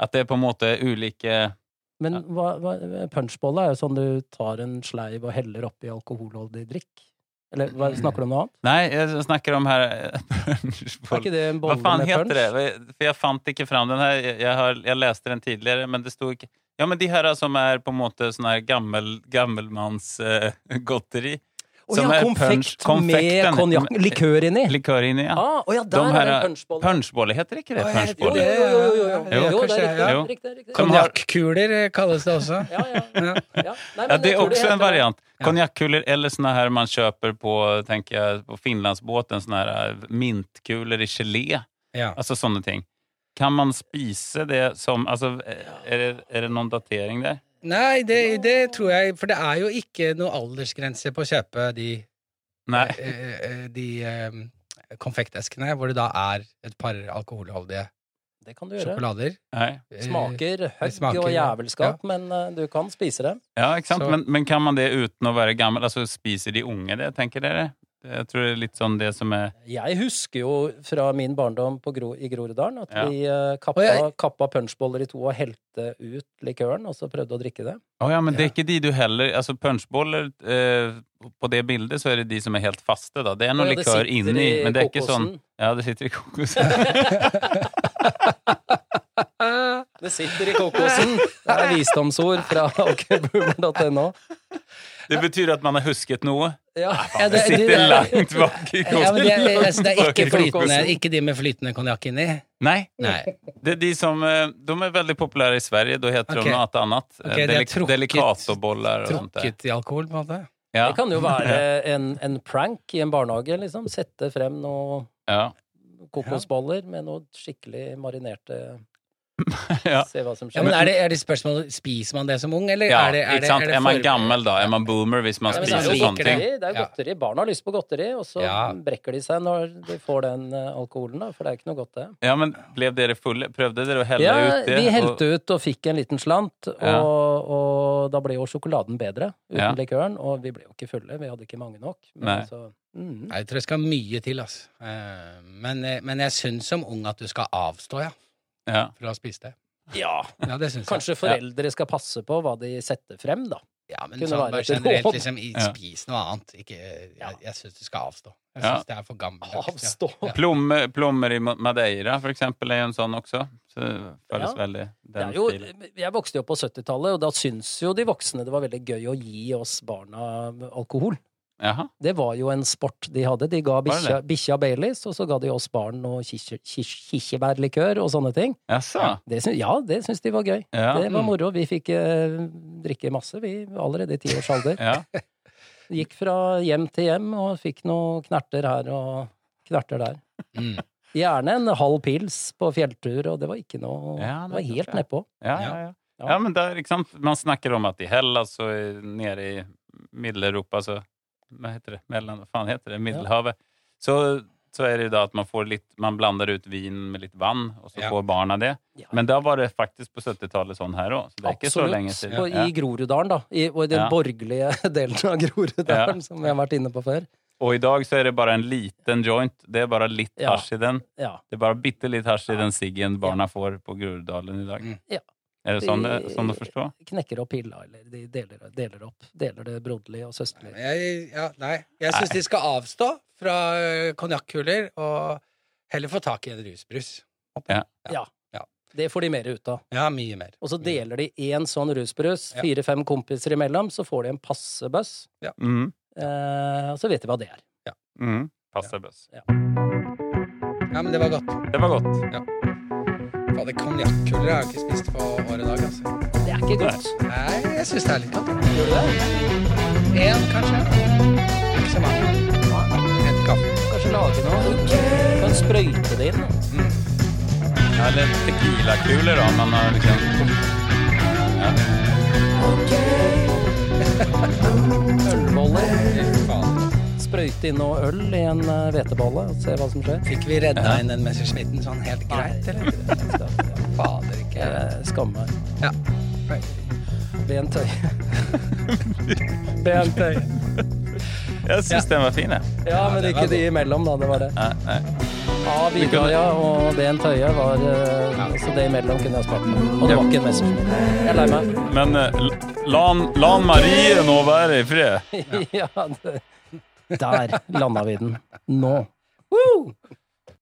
B: Att det är på en måte ulike
A: Men hva, hva, punchbolle er jo sånn du tar en sleiv og heller oppi alkoholholdig drikk. Eller hva, snakker du om noe annet?
B: Nej, jag snackar om här
A: Er
B: punchbolle.
A: ikke det en
B: Hva
A: bolle
B: faen
A: med
B: heter
A: punch?
B: det? Hva- For jeg fant ikke fram den her. Jeg, har, jeg leste den tidligere, men det sto ikke Ja, men de her som er på en måte sånn her gammel, eh, gammelmannsgodteri.
A: Å
B: Sånn
A: ja, konfekt med konjakk. Likør inni.
B: Likør inni, ja.
A: Ah, å ja,
B: De
A: der er det
B: her-
A: punchbolle.
B: Punchbolle heter ikke det?
C: Å, jeg-
A: Jo, jo,
B: Punchbolle.
A: jo, jo, jo, jo.
C: Jo,
A: jo det
C: kanskje,
A: er riktig.
B: ja.
A: riktig, riktig.
B: Som har-
C: Konjakkuler eh, kalles det også.
A: Ja, ja.
C: Ja.
A: Ja, nei, men
B: Ja, det
A: jeg
B: er
A: tror
B: også
A: heter
B: en variant.
C: Ja.
B: Konjakkuler eller sånne her man kjøper på, tenker jeg, på Finlandsbåten. Sånne her eh, mintkuler i gelé.
C: Ja.
B: Alltså sånne ting. Kan man spise det som altså, eh, er, det, er det noen datering der?
C: Nei, det, det tror jeg For det er jo ikke noe aldersgrense på å kjøpe de,
B: Nei.
C: eh, eh, de eh, konfekteskene hvor det da er et par alkoholholdige
A: Det kan du gjøre.
C: sjokolader.
B: Nei.
C: Eh,
A: Smaker høgg
C: smaker,
A: og
C: ja.
A: jævelskap, men eh, du kan spise det.
B: Ja, ikke sant?
C: Så-
B: Men, men kan man det uten å være gammel? Altså, spiser de unge det, tenker dere? Jeg tror det er litt sånn det som er
A: Jeg husker jo fra min barndom på Gro, i Groruddalen at
B: Ja.
A: vi eh, kappa,
C: Og jeg-
A: kappa punchboller i to og helte ut likøren, og så prøvde å drikke det.
B: Å ja, men det er
C: Ja.
B: ikke de du heller Altså, punchboller eh, På det bildet så er det de som er helt faste, da. Det er noe
A: Å ja, det
B: likør
A: sitter
B: inni,
A: i
B: men det er ikke sånn
A: kokosen.
B: Ja, det sitter i kokosen.
A: Det sitter i kokosen! Det er visdomsord fra okboomer.no.
B: det betyr at man har husket noe.
A: Ja.
C: Ja,
B: Det
C: det-
B: sitter langt bak i
C: Ja, men det,
B: kosten.
C: altså, det er ikke,
B: Bak i
C: flytende,
B: kosten.
C: ikke de med flytende konjakk inni.
B: Nei.
C: Nei.
B: Det er de som eh, De er veldig populære i Sverige. Da heter
C: Okej.
B: de noe annet. Eh,
C: Okej, det er
B: Delik-
C: trukket-
B: Delicatobollar og sånt. der.
C: Trukket i alkohol, på en måte.
B: Ja.
A: Det kan jo være en, en prank i en barnehage, liksom. Sette frem noen
B: Ja.
A: kokosboller med noe skikkelig marinerte
B: Ja.
A: Se hva som
C: Ja,
A: skjer.
C: men er det, er det spørsmålet Spiser man det som ung, eller
B: ja,
C: er det, er
B: ikke
C: det,
B: sant?
C: er det
B: Er man
C: for-
B: gammel da? Er man boomer hvis man
A: Ja, men det
B: spiser
A: er jo
C: liker
B: sånne ting?
A: godteri. Det er
C: Ja.
A: godteri. Barn har lyst på godteri, og så
C: Ja.
A: brekker de seg når de får den eh, alkoholen, da, for det er ikke noe godt, det.
B: Ja, men blev dere fulle? Prøvde dere å helle
A: Ja,
B: ut det?
A: vi helte ut og fikk en liten slant, og,
B: Ja.
A: og da ble jo sjokoladen bedre uten
B: Ja.
A: likøren, og vi ble jo ikke fulle, vi hadde ikke mange nok.
B: Nei.
A: Men så, mm.
C: Nei, Jeg tror det skal mye til, altså. Eh, Men, eh, men jeg syns som ung at du skal avstå, ja.
B: Ja.
C: Fra å spise det.
A: Ja,
C: Ja, det syns jeg.
A: kanskje foreldre skal passe på hva de setter frem, da.
C: Ja, men
A: kunne
C: sånn
A: være
C: bare
A: et
C: generelt,
A: råd.
C: liksom, i-
B: Ja.
C: spis noe annet. Ikke, jeg jeg syns du skal avstå. Jeg
B: Ja.
C: syns det er for gammeldags.
A: Avstå.
C: Ja.
B: Plomme, plommer i Ma- Madeira, for eksempel, er jo en sånn også. Så det føles
A: Ja.
B: veldig
A: Det
B: den
A: er jo, eh,
B: stilen.
A: jeg vokste jo opp på 70-tallet, og da syns jo de voksne det var veldig gøy å gi oss barna eh, alkohol.
B: Jaha.
A: Det var jo en sport de hadde. De ga
B: det
A: bikkja bikkja Baileys, og så ga de oss barn noe kirsebærlikør og sånne ting.
B: Jaså?
A: Det syns- ja, det syns de var gøy.
B: Ja. Mm.
A: Det var moro. Vi fikk eh, drikke masse, vi, allerede i ti års alder.
B: Ja.
A: Gikk fra hjem til hjem og fikk noen knerter her og knerter der.
C: Mm.
A: Gjerne en halv pils på fjelltur, og det var ikke noe
B: Ja,
A: Det var
B: nettopp,
A: helt
B: ja.
A: nedpå.
B: Ja, ja, ja. ja, men der, ikke sant? Man snakker om at i Hellas og i- nede i Middeleuropa, så Hva heter det? Mellan, hva faen heter det? Middelhavet. Så, så er det jo da at man får litt Man blander ut vin med litt vann, og så
C: Ja.
B: får barna det.
A: Ja.
B: Men da var det faktisk på 70-tallet sånn her òg, så det er ikke så lenge siden.
A: Og I Groruddalen, da. I, og i den
B: Ja.
A: borgerlige delen av
B: Ja.
A: Groruddalen, som vi har vært inne på før.
B: Og i dag så er det bare en liten joint. Det er bare litt
A: Ja.
B: hasj i den.
A: Ja.
B: Det er bare bitte litt hasj i den siggen barna får på Groruddalen i dag.
C: Mm.
A: Ja.
B: Er det sånn, det, sånn å forstå?
A: Knekker opp pilla, eller de deler, deler opp. Deler det broderlig og søsterlig.
C: Jeg, ja, nei. Jeg syns de skal avstå fra ø, konjakkuler og heller få tak i en rusbrus.
A: Ja.
C: Ja.
A: Det får de mer ut av.
C: Ja, mye mer.
A: Og så deler de én sånn rusbrus,
C: Ja.
A: fire-fem kompiser imellom, så får de en passe bøss.
B: Mm.
A: Eh, og så vet de hva det er.
B: Mm. Passer bøss.
C: Ja, men det var godt.
B: Det var godt.
C: Fader, konjakkuler har jeg ikke spist på år og dag, altså.
A: Det er ikke godt.
C: Nei, jeg syns det er litt godt.
A: Gjør du det?
C: Én, kanskje. Ikke så mange. En kaffe.
A: Kanskje lage noe? Kan sprøyte det inn? da.
B: Ja, Eller tequilakuler, da. Man har liksom ja.
A: Ølboller?
C: Fy faen.
A: Sprøyte inn noe øl i en eh, hvetebolle og se hva som skjer?
C: Fikk vi redda inn den Messerschmitten sånn helt greit, eller? Fader, ikke
A: Jeg skammer meg.
C: Ja.
A: Bent Høie. Bent Høie.
B: Jeg syns den var fin, jeg.
A: Ja, men
C: det var
A: ikke de imellom, da. Det var det.
B: Nei, nei.
A: Ja, Vidarja og Bent Høie var eh, Så det imellom kunne jeg spart meg. Og det var ikke en Messerschmitt. Jeg er lei meg.
B: Men eh, L- Lan, Lan Marie nå være i fred.
A: Ja, det. Der landa vi den. Nå.